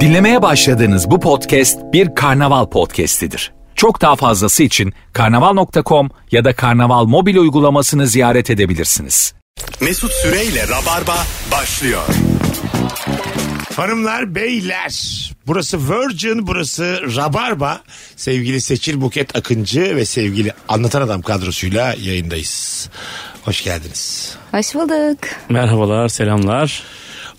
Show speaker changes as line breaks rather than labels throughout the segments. Dinlemeye başladığınız bu podcast bir karnaval podcastidir. Çok daha fazlası için karnaval.com ya da karnaval mobil uygulamasını ziyaret edebilirsiniz.
Mesut Süreyle Rabarba başlıyor.
Hanımlar, beyler. Burası Virgin, burası Rabarba. Sevgili Seçil Buket Akıncı ve sevgili Anlatan Adam kadrosuyla yayındayız. Hoş geldiniz.
Hoş bulduk.
Merhabalar, selamlar.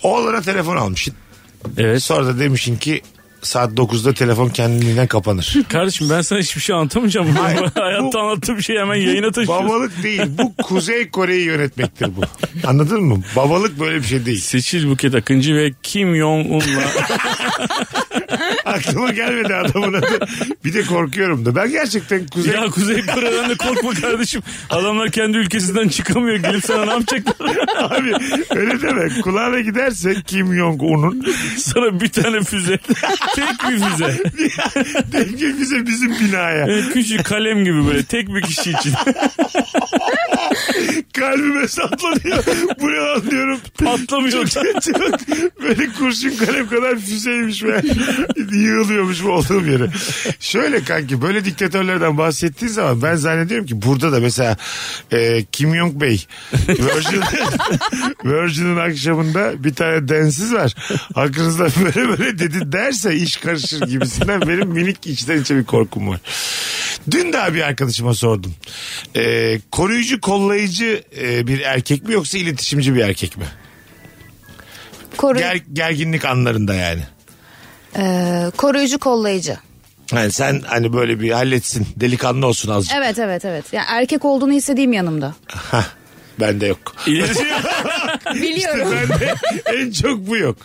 Oğlana telefon almışsın. E,
Evet.
Sonra da demişsin ki saat 9'da telefon kendiliğinden kapanır.
Kardeşim ben sana hiçbir şey anlatamayacağım.
Hayır, bu-
Hayatta anlattığım şeyi hemen yayına taşıyorsun.
Babalık değil. Bu Kuzey Kore'yi yönetmektir bu. Anladın mı? Babalık böyle bir şey değil.
Seçil Buket Akıncı ve Kim Jong-un'la
Aklıma gelmedi adamın adı. Bir de korkuyorum da. Ben gerçekten Kuzey...
ya Kuzey Kore'den de korkma kardeşim. Adamlar kendi ülkesinden çıkamıyor. Gelip sana ne yapacaklar?
Abi öyle deme. Kulağına giderse Kim Jong-un'un
sana bir tane füze. Tek bir füze.
Denge bize bizim binaya.
Evet, küçük kalem gibi böyle tek bir kişi için.
Kalbime saplanıyor. Bu ne lan diyorum.
Patlamıyor.
Çok, çok böyle kurşun kalem kadar füzeymiş ve yığılıyormuş bu olduğum yere. Şöyle kanki böyle diktatörlerden bahsettiğin zaman ben zannediyorum ki burada da mesela e, Kim Jong Bey Virgin, Virgin'in akşamında bir tane densiz var. Hakkınızda böyle böyle dedi derse iş karışır gibisinden benim minik içten içe bir korkum var. Dün daha bir arkadaşıma sordum. E, koruyucu kollayıcı e, bir erkek mi yoksa iletişimci bir erkek mi?
Koru-
Ger- gerginlik anlarında yani.
Ee, koruyucu kollayıcı.
Yani sen hani böyle bir halletsin delikanlı olsun azıcık.
Evet evet evet. Yani erkek olduğunu istediğim yanımda.
Hah, bende yok.
İletişim-
Biliyorum.
bende en çok bu yok.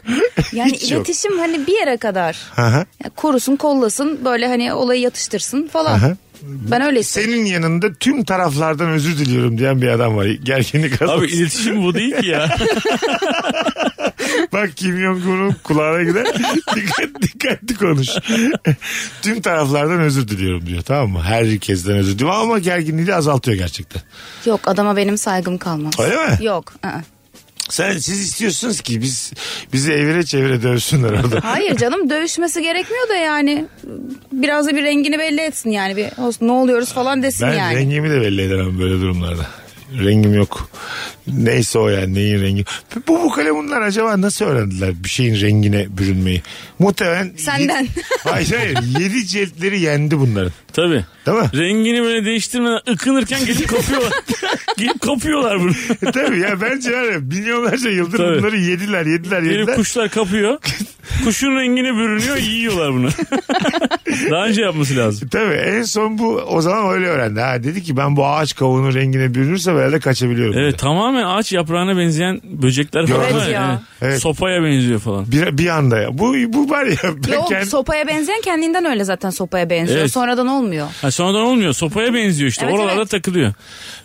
yani
hiç yok.
iletişim hani bir yere kadar.
Aha.
Ya korusun kollasın böyle hani olayı yatıştırsın falan.
Aha.
Ben öyle istedim.
Senin yanında tüm taraflardan özür diliyorum diyen bir adam var. Gerginlik
Abi
Abi,
iletişim bu değil ki ya.
Bak Kim Jong-un'un kulağına gider. dikkat, dikkatli konuş. tüm taraflardan özür diliyorum diyor tamam mı? Herkesten özür diliyor ama gerginliği de azaltıyor gerçekten.
Yok adama benim saygım kalmaz.
Öyle mi?
Yok. ı-ı.
Sen siz istiyorsunuz ki biz bizi evire çevire dövsünler orada.
Hayır canım dövüşmesi gerekmiyor da yani. Biraz da bir rengini belli etsin yani. Bir "Olsun, ne oluyoruz falan desin
Ben
yani.
rengimi de belli edemem böyle durumlarda. Rengim yok. Neyse o yani neyin rengi. Bu bu kalemunlar acaba nasıl öğrendiler bir şeyin rengine bürünmeyi? Muhtemelen...
Senden.
Yedi, hayır hayır. Yedi ciltleri yendi bunların.
Tabii.
Değil mi?
Rengini böyle değiştirmeden ıkınırken gelip kapıyorlar. gelip kapıyorlar bunu.
Tabii ya bence var ya, milyonlarca yıldır
Tabii.
bunları yediler yediler
Gelip
yediler.
kuşlar kapıyor. Kuşun rengine bürünüyor yiyorlar bunu. Daha önce yapması lazım.
Tabii en son bu o zaman öyle öğrendi. Ha, dedi ki ben bu ağaç kavuğunun rengine bürünürse böyle de kaçabiliyorum.
Evet tamamen ağaç yaprağına benzeyen böcekler falan
Evet
var
ya.
yani.
Evet.
Sopaya benziyor falan.
Bir, bir anda ya. Bu, bu var ya. ben
Yok
kendim-
sopaya benzeyen kendinden öyle zaten sopaya benziyor.
Evet.
Sonradan olmuyor.
Ha, sonradan olmuyor. Sopaya benziyor işte.
Evet,
Oralarda
evet.
takılıyor.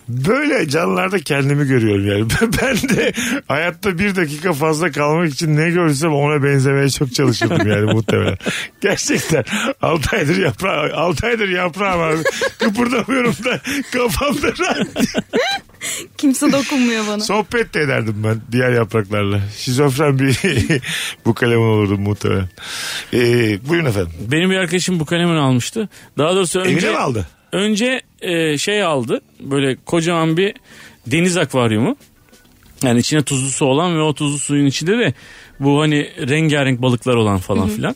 Böyle canlılarda kendimi görüyorum yani. Ben- Ben de hayatta bir dakika fazla kalmak için ne görsem ona benzemeye çok çalışırdım yani muhtemelen. Gerçekten 6 aydır yaprağı, 6 aydır yaprağım abi. Kıpırdamıyorum da kafamda rahat.
Kimse dokunmuyor bana.
Sohbet de ederdim ben diğer yapraklarla. Şizofren bir bu kalem olurdum muhtemelen. Ee, buyurun efendim.
Benim bir arkadaşım bu kalemini almıştı. Daha doğrusu önce...
Evine mi aldı?
Önce e, şey aldı. Böyle kocaman bir deniz akvaryumu. Yani içine tuzlu su olan ve o tuzlu suyun içinde de bu hani rengarenk balıklar olan falan filan.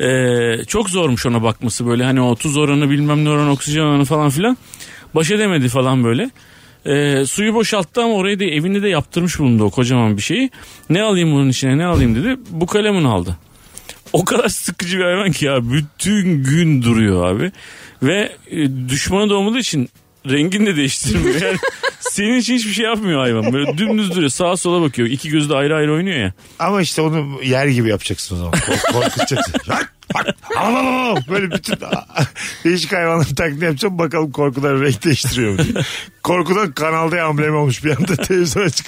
E, çok zormuş ona bakması böyle hani o tuz oranı bilmem ne oranı oksijen oranı falan filan. Baş edemedi falan böyle. E, suyu boşalttı ama orayı da evinde de yaptırmış bulundu o kocaman bir şeyi. Ne alayım bunun içine ne alayım dedi. Bu kalemin aldı o kadar sıkıcı bir hayvan ki ya bütün gün duruyor abi. Ve e, düşmanı doğmadığı için rengini de değiştirmiyor. Yani senin için hiçbir şey yapmıyor hayvan. Böyle dümdüz duruyor. Sağa sola bakıyor. İki gözü de ayrı ayrı oynuyor ya.
Ama işte onu yer gibi yapacaksın o zaman. Kork- Korkutacaksın. Lan, bak, al, al, al, al. Böyle bütün değişik hayvanların taklidi yapacağım. Bakalım korkudan renk değiştiriyor mu diye. Korkudan kanalda amblem olmuş bir anda televizyon açık.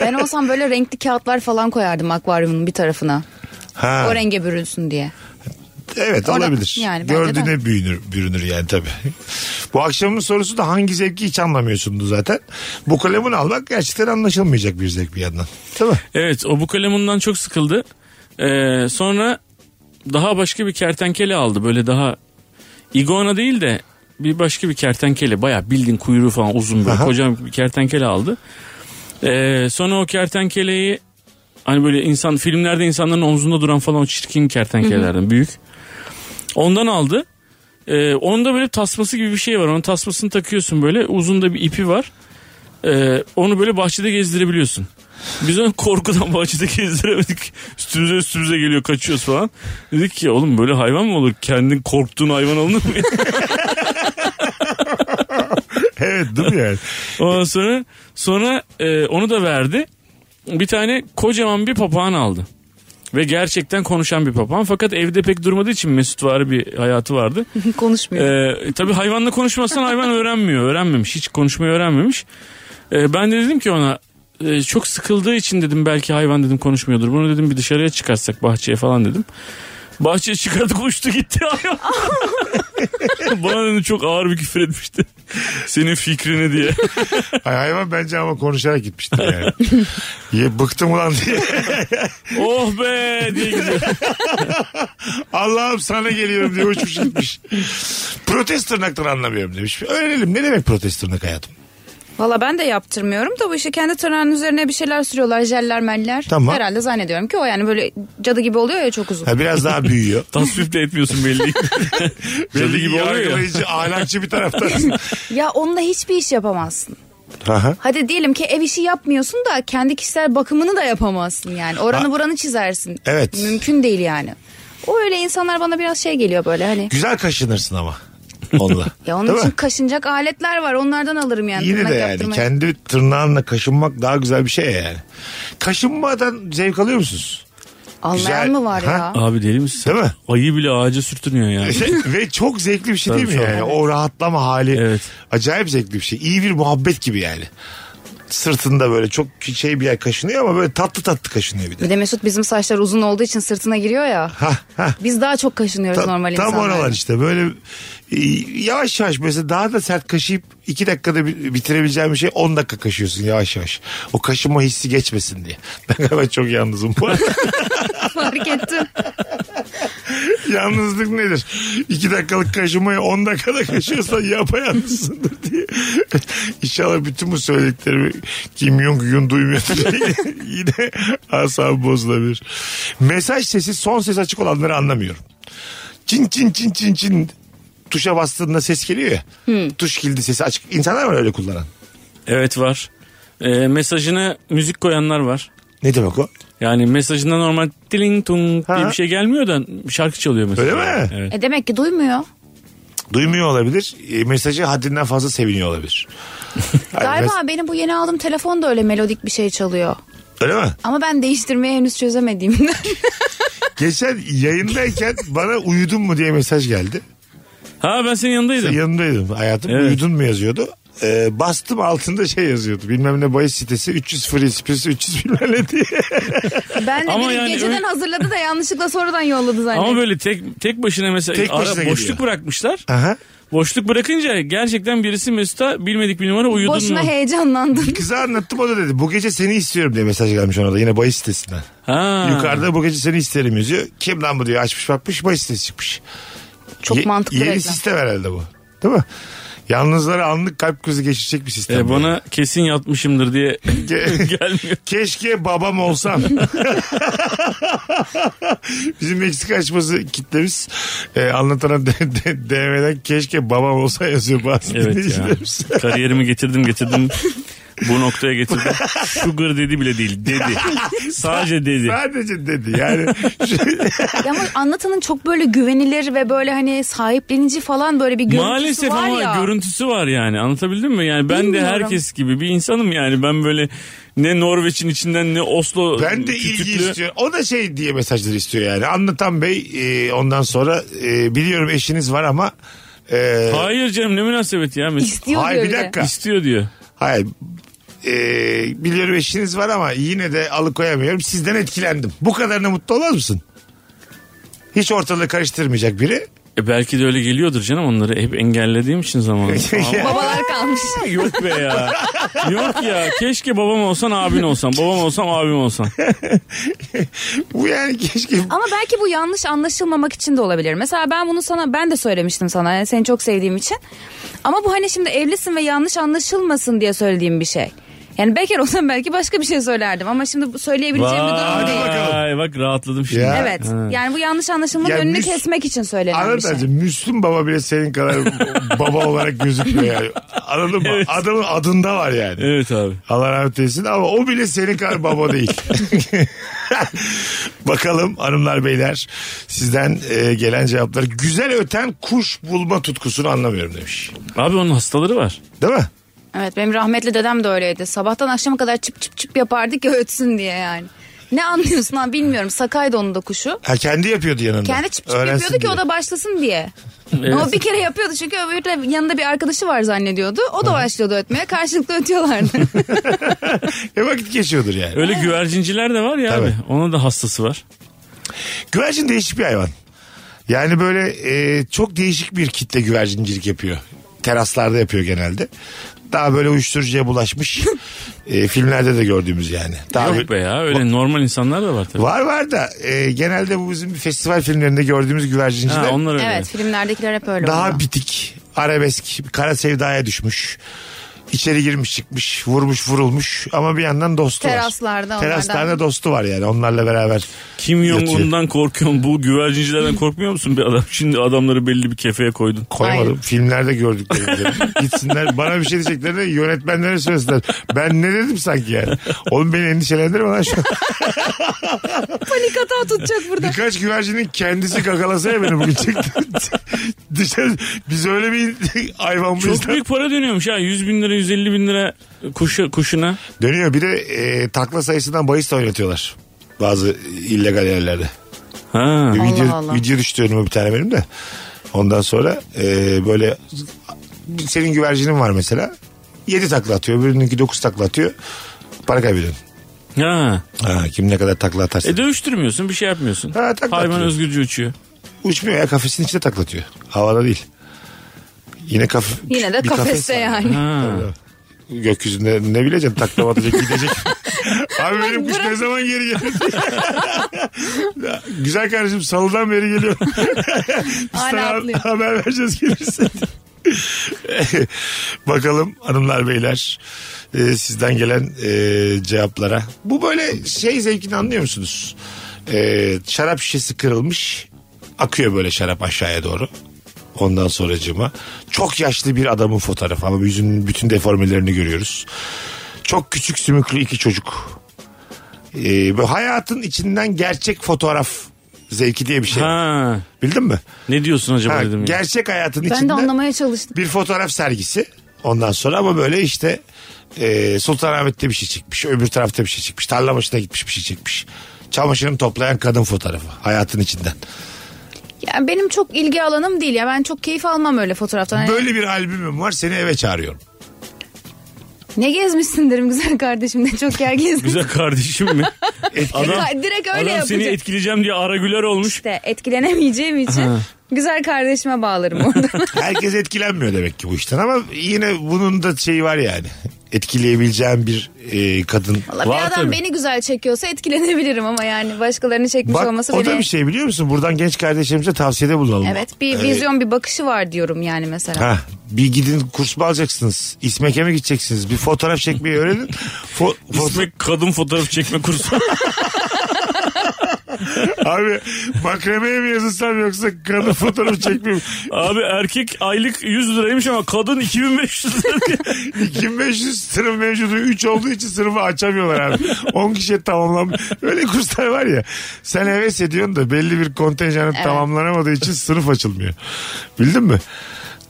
Ben olsam böyle renkli kağıtlar falan koyardım akvaryumun bir tarafına.
ha,
O renge bürünsün diye.
evet
Orada-
olabilir.
yani bence
Gördüğüne büyünür, bürünür yani tabii. Bu akşamın sorusu da hangi zevki hiç anlamıyorsundu zaten. Bu kalemini almak gerçekten anlaşılmayacak bir zevk bir yandan. Değil mi?
Evet o bu kalemundan çok sıkıldı. Ee, sonra daha başka bir kertenkele aldı. Böyle daha iguana değil de bir başka bir kertenkele. Baya bildiğin kuyruğu falan uzun böyle. Kocaman bir kertenkele aldı. Ee, sonra o kertenkeleyi hani böyle insan filmlerde insanların omzunda duran falan o çirkin kertenkelelerden büyük. Ondan aldı. Ee, onda böyle tasması gibi bir şey var. Onun tasmasını takıyorsun böyle. Uzun da bir ipi var. Ee, onu böyle bahçede gezdirebiliyorsun. Biz onu korkudan bahçede gezdiremedik. Üstümüze üstümüze geliyor kaçıyoruz falan. Dedik ki oğlum böyle hayvan mı olur? Kendin korktuğun hayvan alınır mı?
Evet değil mi yani?
Ondan sonra sonra e, onu da verdi. Bir tane kocaman bir papağan aldı. Ve gerçekten konuşan bir papağan. Fakat evde pek durmadığı için Mesut var bir hayatı vardı.
Konuşmuyor.
Ee, tabii hayvanla konuşmazsan hayvan öğrenmiyor. Öğrenmemiş. Hiç konuşmayı öğrenmemiş. Ee, ben de dedim ki ona e, çok sıkıldığı için dedim belki hayvan dedim konuşmuyordur. Bunu dedim bir dışarıya çıkarsak bahçeye falan dedim. Bahçeye çıkardık uçtu gitti hayvan. Bana dedim çok ağır bir küfür etmişti. Senin fikrini diye.
Ay, hayvan bence ama konuşarak gitmiştir yani. Ye, bıktım ulan diye.
oh be diye gidiyor.
Allah'ım sana geliyorum diye uçmuş gitmiş. Protest tırnaktan anlamıyorum demiş. Öğrenelim ne demek protest tırnak hayatım?
Valla ben de yaptırmıyorum da bu işi kendi tırnağının üzerine bir şeyler sürüyorlar. Jeller meller.
Tamam.
Herhalde zannediyorum ki o yani böyle cadı gibi oluyor ya çok uzun.
Ha, biraz daha büyüyor.
Tasvip de etmiyorsun belli. belli gibi oluyor ya.
Yargılayıcı, ahlakçı bir taraftansın.
Ya onunla hiçbir iş yapamazsın.
Aha.
Hadi diyelim ki ev işi yapmıyorsun da kendi kişisel bakımını da yapamazsın yani. Oranı buranı çizersin.
Evet.
Mümkün değil yani. O öyle insanlar bana biraz şey geliyor böyle hani.
Güzel kaşınırsın ama. Onunla.
Ya onun
Değil
için
mi?
kaşınacak aletler var. Onlardan alırım yani.
Yine
tırnak
de yani
yaptırmaya.
kendi tırnağınla kaşınmak daha güzel bir şey yani. Kaşınmadan zevk alıyor musunuz?
Anlayan
güzel-
mı var
Ha?
ya?
Abi deli misin? sen?
Değil mi?
Ayı bile ağaca sürtünüyor yani.
Ve çok zevkli bir şey
Tabii,
değil mi
çok.
yani? O rahatlama hali.
Evet.
Acayip zevkli bir şey. İyi bir muhabbet gibi yani. Sırtında böyle çok şey bir yer kaşınıyor ama böyle tatlı tatlı kaşınıyor bir de.
Bir de Mesut bizim saçlar uzun olduğu için sırtına giriyor ya.
Hah hah.
Biz daha çok kaşınıyoruz
Ta-
normal
tam
insanlar.
oralar işte böyle e, yavaş yavaş mesela daha da sert kaşıyıp iki dakikada bi- bitirebileceğin bir şey 10 dakika kaşıyorsun yavaş yavaş. O kaşıma hissi geçmesin diye. Ben galiba çok yalnızım. Bu arada
Fark ettim.
Yalnızlık nedir? 2 dakikalık kaşımayı 10 dakikada kaşıyorsan yapayalnızsındır diye. İnşallah bütün bu söylediklerimi Kim Jong Un duymuyor. Yine asabı bozulabilir. Mesaj sesi son ses açık olanları anlamıyorum. Çin çin çin çin çin tuşa bastığında ses geliyor ya. Tuş kilidi sesi açık. İnsanlar var öyle kullanan.
Evet var. Ee, mesajına müzik koyanlar var.
Ne demek o?
Yani mesajında normal tiling tung diye
Ha.
bir şey gelmiyor da şarkı çalıyor mesela.
Öyle mi?
Evet.
E demek ki duymuyor.
Duymuyor olabilir. E, mesajı haddinden fazla seviniyor olabilir. Hani
Galiba
mes-
benim bu yeni aldığım telefon da öyle melodik bir şey çalıyor.
Öyle mi?
Ama ben değiştirmeyi henüz çözemediğimden.
Geçen yayındayken bana uyudun mu diye mesaj geldi. E,
Ha ben senin yanındaydım.
Yanındaydım hayatım.
Evet.
Uyudun mu yazıyordu. Ee, bastım altında şey yazıyordu. Bilmem ne bahis sitesi 300 free space 300 bilmem ne diye.
ben de
Ama
biri
yani
geceden
öyle-
hazırladı da yanlışlıkla sonradan yolladı zannettim.
Ama böyle tek tek başına mesela
Tek
ara-
başına geliyor.
boşluk bırakmışlar.
Aha.
Boşluk bırakınca gerçekten birisi Mesut'a bilmedik bir numara uyudun
Boşuna
mu?
heyecanlandım.
Kıza anlattım o da dedi. Bu gece seni istiyorum diye mesaj gelmiş ona da. Yine bahis sitesinden.
Ha.
Yukarıda bu gece seni isterim yazıyor. Kim lan bu diyor. Açmış bakmış bahis sitesi çıkmış.
Çok
Ye-
mantıklı
Yeni
reklam.
sistem herhalde bu. Değil mi? Yalnızlara anlık kalp krizi geçirecek bir
E,
sistem. bu.
bana kesin yatmışımdır diye
Ge-
gelmiyor.
Keşke babam olsam. Bizim Meksika açması kitlemiz e, anlatana de- de- DM'den keşke babam olsa yazıyor bazı
Evet ya.
dinleyicilerimiz.
Kariyerimi getirdim getirdim. Bu noktaya getirdim. Sugar dedi bile değil. Dedi. Sadece dedi.
Sadece dedi yani.
Ya ama anlatanın çok böyle güvenilir ve böyle hani sahiplenici falan böyle bir görüntüsü
Maalesef
var
ama
ya.
görüntüsü var yani anlatabildim mi? Yani ben
Bilmiyorum.
de herkes gibi bir insanım yani ben böyle ne Norveç'in içinden ne Oslo
ben de ilgi
kütüklü-
istiyor. O da şey diye mesajları istiyor yani. Anlatan Bey e, ondan sonra e, biliyorum eşiniz var ama e,
Hayır canım ne münasebet ya Mesut.
İstiyor
Hayır,
diyor
bir
de.
dakika.
İstiyor diyor.
hayır e, biliyorum eşiniz var ama yine de alıkoyamıyorum. Sizden etkilendim. Bu kadarına mutlu olmaz mısın? Hiç ortalığı karıştırmayacak biri.
E belki de öyle geliyordur canım onları hep engellediğim için zamanında.
Babalar kalmış.
Ama yok be ya. Yok ya. Keşke babam olsan abin olsan. Babam olsam abim olsan.
Bu yani keşke
Ama belki bu yanlış anlaşılmamak için de olabilir. Mesela ben bunu sana ben de söylemiştim sana. Yani seni çok sevdiğim için. Ama bu hani şimdi evlisin ve yanlış anlaşılmasın diye söylediğim bir şey. Yani bekar olsam belki başka bir şey söylerdim ama şimdi bu söyleyebileceğim bir durum değil.
Vay bak rahatladım şimdi.
Ya.
Evet. Yani bu yanlış anlaşılmanın
Ya
önünü
biz-
kesmek için söylenen bir şey.
Anladın mı? Müslüm Baba bile senin kadar baba olarak gözükmüyor yani. Anladın mı? Adamın adında var yani.
Evet abi.
Allah rahmet eylesin ama o bile senin kadar baba değil. Bakalım hanımlar beyler sizden e, gelen cevaplar. Güzel öten kuş bulma tutkusunu anlamıyorum demiş.
Abi onun hastaları var.
Değil mi?
Evet benim rahmetli dedem de öyleydi. Sabahtan akşama kadar çıp çıp çıp yapardı ki ötsün diye yani. Ne anlıyorsun ha bilmiyorum. Sakaydı onun da kuşu.
Ha kendi yapıyordu yanında.
Kendi çıp çıp
Öğrensin
yapıyordu ki
diye.
o da başlasın diye. Ama bir kere yapıyordu çünkü öbürü de yanında bir arkadaşı var zannediyordu. O da başlıyordu ötmeye. Karşılıklı ötüyorlardı.
E vakit geçiyordur yani.
Öyle güvercinciler de var ya
Tabii.
abi. Onun da hastası var.
Güvercin değişik bir hayvan. Yani böyle e, çok değişik bir kitle güvercincilik yapıyor. Teraslarda yapıyor genelde. Daha böyle uyuşturucuya bulaşmış. E, filmlerde de gördüğümüz yani. Daha böyle-
Yok be ya. Öyle normal insanlar da var tabii.
Var var da e, genelde bu bizim festival filmlerinde gördüğümüz güvercinciler
Ha, onlar öyle.
evet filmlerdekiler hep öyle
daha
oluyor.
bitik, arabesk, kara sevdaya düşmüş. İçeri girmiş çıkmış, vurmuş vurulmuş ama bir yandan dostu var.
Teraslarda, onlardan.
Teraslarda dostu var yani onlarla beraber.
Kim Jong-un'dan korkuyorsun. Bu güvercincilerden korkmuyor musun bir adam? Şimdi adamları belli bir kefeye koydun.
Koymadım.
Aynen.
Filmlerde gördüklerimizi. Gitsinler bana bir şey diyeceklerini yönetmenlere söylesinler. Ben ne dedim sanki yani. Oğlum beni endişelendirme lan şu an.
Panik atağı tutacak burada.
Birkaç güvercinin kendisi kakalasa ya beni bugün çıktı. Dışarı, biz öyle bir hayvan mıyız
Çok
lan?
büyük para dönüyormuş ha. 100 bin lira 150 bin lira kuşu, kuşuna.
Dönüyor bir de e, takla sayısından bahis de oynatıyorlar. Bazı illegal yerlerde.
Ha.
Bir
Allah
video,
Allah.
video düştü önüme bir tane benim de. Ondan sonra e, böyle senin güvercinin var mesela. 7 takla atıyor. Öbürününki 9 takla atıyor. Para kaybediyorsun.
Ha.
Ha, kim ne kadar takla atarsa.
E dövüştürmüyorsun bir şey yapmıyorsun.
Ha, takla
Hayvan
atıyor.
özgürce uçuyor.
Uçmuyor ya kafesin içinde takla atıyor. Havada değil. Yine kaf
Yine de
bir kafes
kafeste
var.
yani.
Ha.
Gökyüzünde ne bileceğim takla atacak gidecek. Abi benim kuş ne zaman geri gelir? Güzel kardeşim salıdan beri geliyor. Biz
Hala
sana
atlıyor.
haber vereceğiz gelirsin. Bakalım hanımlar beyler e, sizden gelen e, cevaplara. Bu böyle şey zevkini anlıyor musunuz? E, şarap şişesi kırılmış akıyor böyle şarap aşağıya doğru. Ondan sonracığıma çok yaşlı bir adamın fotoğrafı ama yüzünün bütün deformelerini görüyoruz. Çok küçük sümüklü iki çocuk. E, böyle hayatın içinden gerçek fotoğraf zevki diye bir şey.
Ha.
Bildin mi?
Ne diyorsun acaba
Ha,
dedim ya.
gerçek hayatın
Ben de
içinden
anlamaya çalıştım.
bir fotoğraf sergisi. Ondan sonra ama böyle işte e, Sultanahmet'te bir şey çıkmış. Öbür tarafta bir şey çıkmış. Tarlabaşı'na gitmiş bir şey çıkmış. Çamaşırını toplayan kadın fotoğrafı hayatın içinden.
Yani benim çok ilgi alanım değil ya. Ben çok keyif almam öyle fotoğraftan. Hani
Böyle bir albümüm var seni eve çağırıyorum.
Ne gezmişsin derim güzel kardeşim de çok yer gezmiş.
Güzel kardeşim mi? adam,
Direkt öyle
adam seni
yapacak.
etkileyeceğim diye ara güler olmuş.
İşte etkilenemeyeceğim için güzel kardeşime bağlarım orada.
Herkes etkilenmiyor demek ki bu işten ama yine bunun da şeyi var yani. Etkileyebileceğim bir e, kadın.
Vallahi
Var
bir adam
tabii.
beni güzel çekiyorsa etkilenebilirim ama yani başkalarını çekmiş
Bak
olması
o da
beni...
bir şey biliyor musun? Buradan genç kardeşlerimize tavsiyede bulunalım.
Evet bir vizyon bir bakışı var diyorum yani mesela.
Ha, bir gidin kurs mu alacaksınız? İsmek'e mi gideceksiniz? Bir fotoğraf çekmeyi öğrenin. Fo- fo-
İsmek kadın fotoğraf çekme kursu.
Abi makremeye mi yazılsam yoksa kadın fotoğrafı çekmeyeyim.
Abi erkek aylık 100 liraymış ama kadın 2500 lira.
2500 sınıf mevcudu 3 olduğu için sınıfı açamıyorlar abi. 10 kişiye tamamlanmış. Öyle kurslar var ya. Sen heves ediyorsun da belli bir kontenjanı tamamlanamadığı için sınıf açılmıyor. Bildin mi?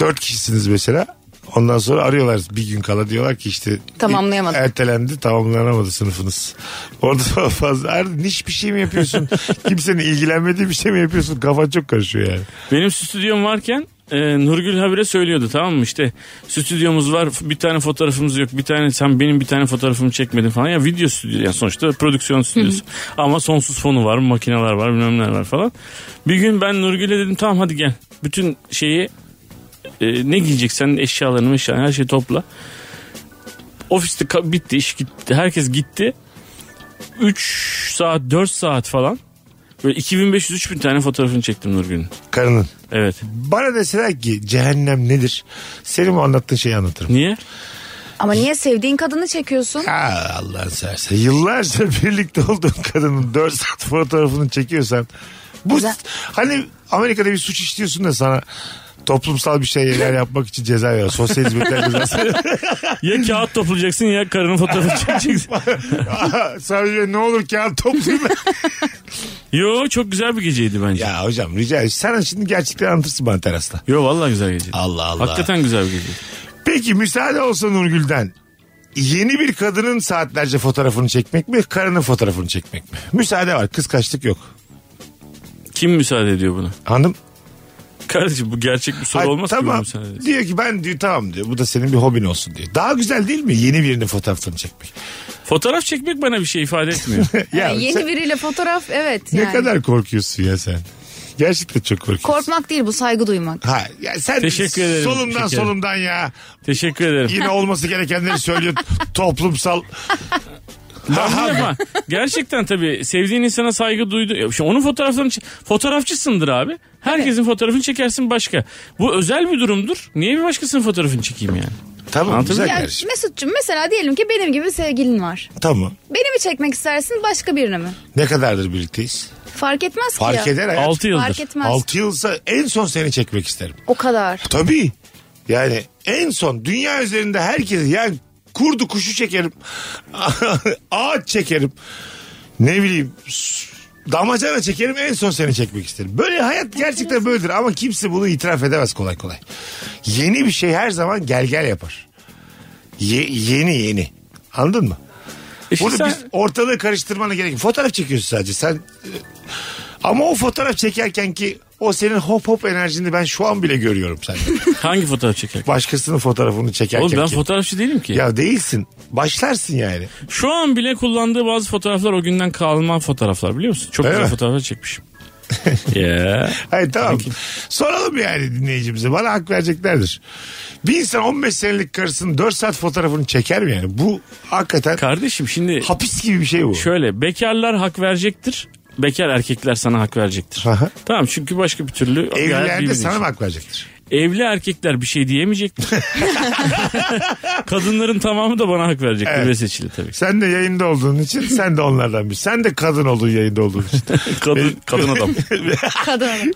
4 kişisiniz mesela. Ondan sonra arıyorlar bir gün kala diyorlar ki işte
Tamamlayamadık.
ertelendi tamamlanamadı sınıfınız. Orada fazla her niş bir şey mi yapıyorsun? Kimsenin ilgilenmediği bir şey mi yapıyorsun? Kafan çok karışıyor yani.
Benim stüdyom varken e, Nurgül habire söylüyordu tamam mı işte stüdyomuz var bir tane fotoğrafımız yok bir tane sen benim bir tane fotoğrafımı çekmedin falan ya video stüdyo yani sonuçta prodüksiyon stüdyosu ama sonsuz fonu var makineler var bilmem neler var falan. Bir gün ben Nurgül'e dedim tamam hadi gel bütün şeyi e, ne giyeceksen eşyalarını eşyalarını her şeyi topla. Ofiste ka- bitti iş gitti herkes gitti 3 saat 4 saat falan böyle 2500-3000 tane fotoğrafını çektim Nurgül'ün.
Karının.
Evet.
Bana deseler ki cehennem nedir? Senin bu anlattığın şeyi anlatırım.
Niye?
Ama niye sevdiğin kadını çekiyorsun?
Ha Allah'ın serse. E, Yıllarca birlikte olduğun kadının 4 saat fotoğrafını çekiyorsan. Bu
Güzel.
hani Amerika'da bir suç işliyorsun da sana toplumsal bir şeyler yapmak için ceza veriyor. Sosyal hizmetler cezası.
Ya kağıt toplayacaksın ya karının fotoğrafını çekeceksin.
Aha, Sadece ne olur kağıt toplayayım.
Yo çok güzel bir geceydi bence.
ya hocam rica ederim. Sen şimdi gerçekleri anlatırsın bana terasta.
Yo vallahi güzel geceydi.
Allah Allah.
Hakikaten güzel bir geceydi.
Peki müsaade olsa Nurgül'den. Yeni bir kadının saatlerce fotoğrafını çekmek mi, karının fotoğrafını çekmek mi? Müsaade var, kıskaçlık yok.
Kim müsaade ediyor buna?
Hanım
Kardeşim bu gerçek bir soru
Ay,
olmaz ki bu
tamam.
müsaade ediyorsun.
diyor ki ben diyor tamam diyor. Bu da senin bir hobin olsun diyor. Daha güzel değil mi yeni birinin fotoğrafını çekmek?
Fotoğraf çekmek bana bir şey ifade etmiyor.
Ya
Yani Ee, yeni
sen
biriyle fotoğraf evet.
ne
yani.
kadar korkuyorsun ya sen. Gerçekten çok korkuyorsun.
Korkmak değil bu saygı duymak.
Ha, ya sen
Teşekkür ederim,
solumdan
şekerim.
solumdan ya.
Teşekkür ederim.
Yine olması gerekenleri söylüyor toplumsal.
Ben bunu yapamam. Gerçekten tabii sevdiğin insana saygı duydu. Ya Şimdi onun fotoğraflarını çe- fotoğrafçısındır abi. Herkesin fotoğrafını çekersin başka. Bu özel bir durumdur. Niye bir başkasının fotoğrafını çekeyim yani?
tamam
Anladın
güzel
mı?
Ya
kardeşim.
Mesut'cum mesela diyelim ki benim gibi bir sevgilin var.
Tamam.
Beni mi çekmek istersin başka birini mi?
Ne kadardır birlikteyiz?
Fark etmez ki
Fark
ya.
eder hayat.
6 yıldır.
Fark etmez.
6 yılsa en son seni çekmek isterim.
O kadar.
Tabii. Yani en son dünya üzerinde herkes yani kurdu kuşu çekerim. Ağaç çekerim. Ne bileyim s- damacana çekerim en son seni çekmek isterim. Böyle hayat gerçekten böyledir ama kimse bunu itiraf edemez kolay kolay. Yeni bir şey her zaman gel gel yapar. Ye- yeni yeni. Anladın mı?
E şimdi
Bunu
sen-
biz ortalığı karıştırmana gerek yok. Fotoğraf çekiyorsun sadece. Sen e, ama o fotoğraf çekerken ki o senin hop hop enerjini ben şu an bile görüyorum sende.
hangi fotoğraf çeker?
Başkasının fotoğrafını çekerken
Oğlum ben
ki.
fotoğrafçı değilim ki.
Ya değilsin. Başlarsın yani.
Şu an bile kullandığı bazı fotoğraflar o günden kalma fotoğraflar biliyor musun? Çok
Öyle
güzel
mi?
fotoğraflar çekmişim. ya.
Hayır tamam. Soralım yani dinleyicimize. Bana hak vereceklerdir. Bir insan 15 senelik karısının 4 saat fotoğrafını çeker mi yani? Bu hakikaten
Kardeşim şimdi
hapis gibi bir şey bu.
şöyle bekarlar hak verecektir. Bekar erkekler sana hak verecektir.
Aha.
tamam çünkü başka bir türlü gayet
Evlilerde
birbirini-
sana mı hak verecektir?
Evli erkekler bir şey diyemeyecektir. Kadınların tamamı da bana hak verecektir
Evet.
ve seçili tabii.
Sen de yayında olduğun için sen de onlardan bir. Sen de kadın olduğun yayında olduğun için.
Kadın, kadın adam.
Kadın.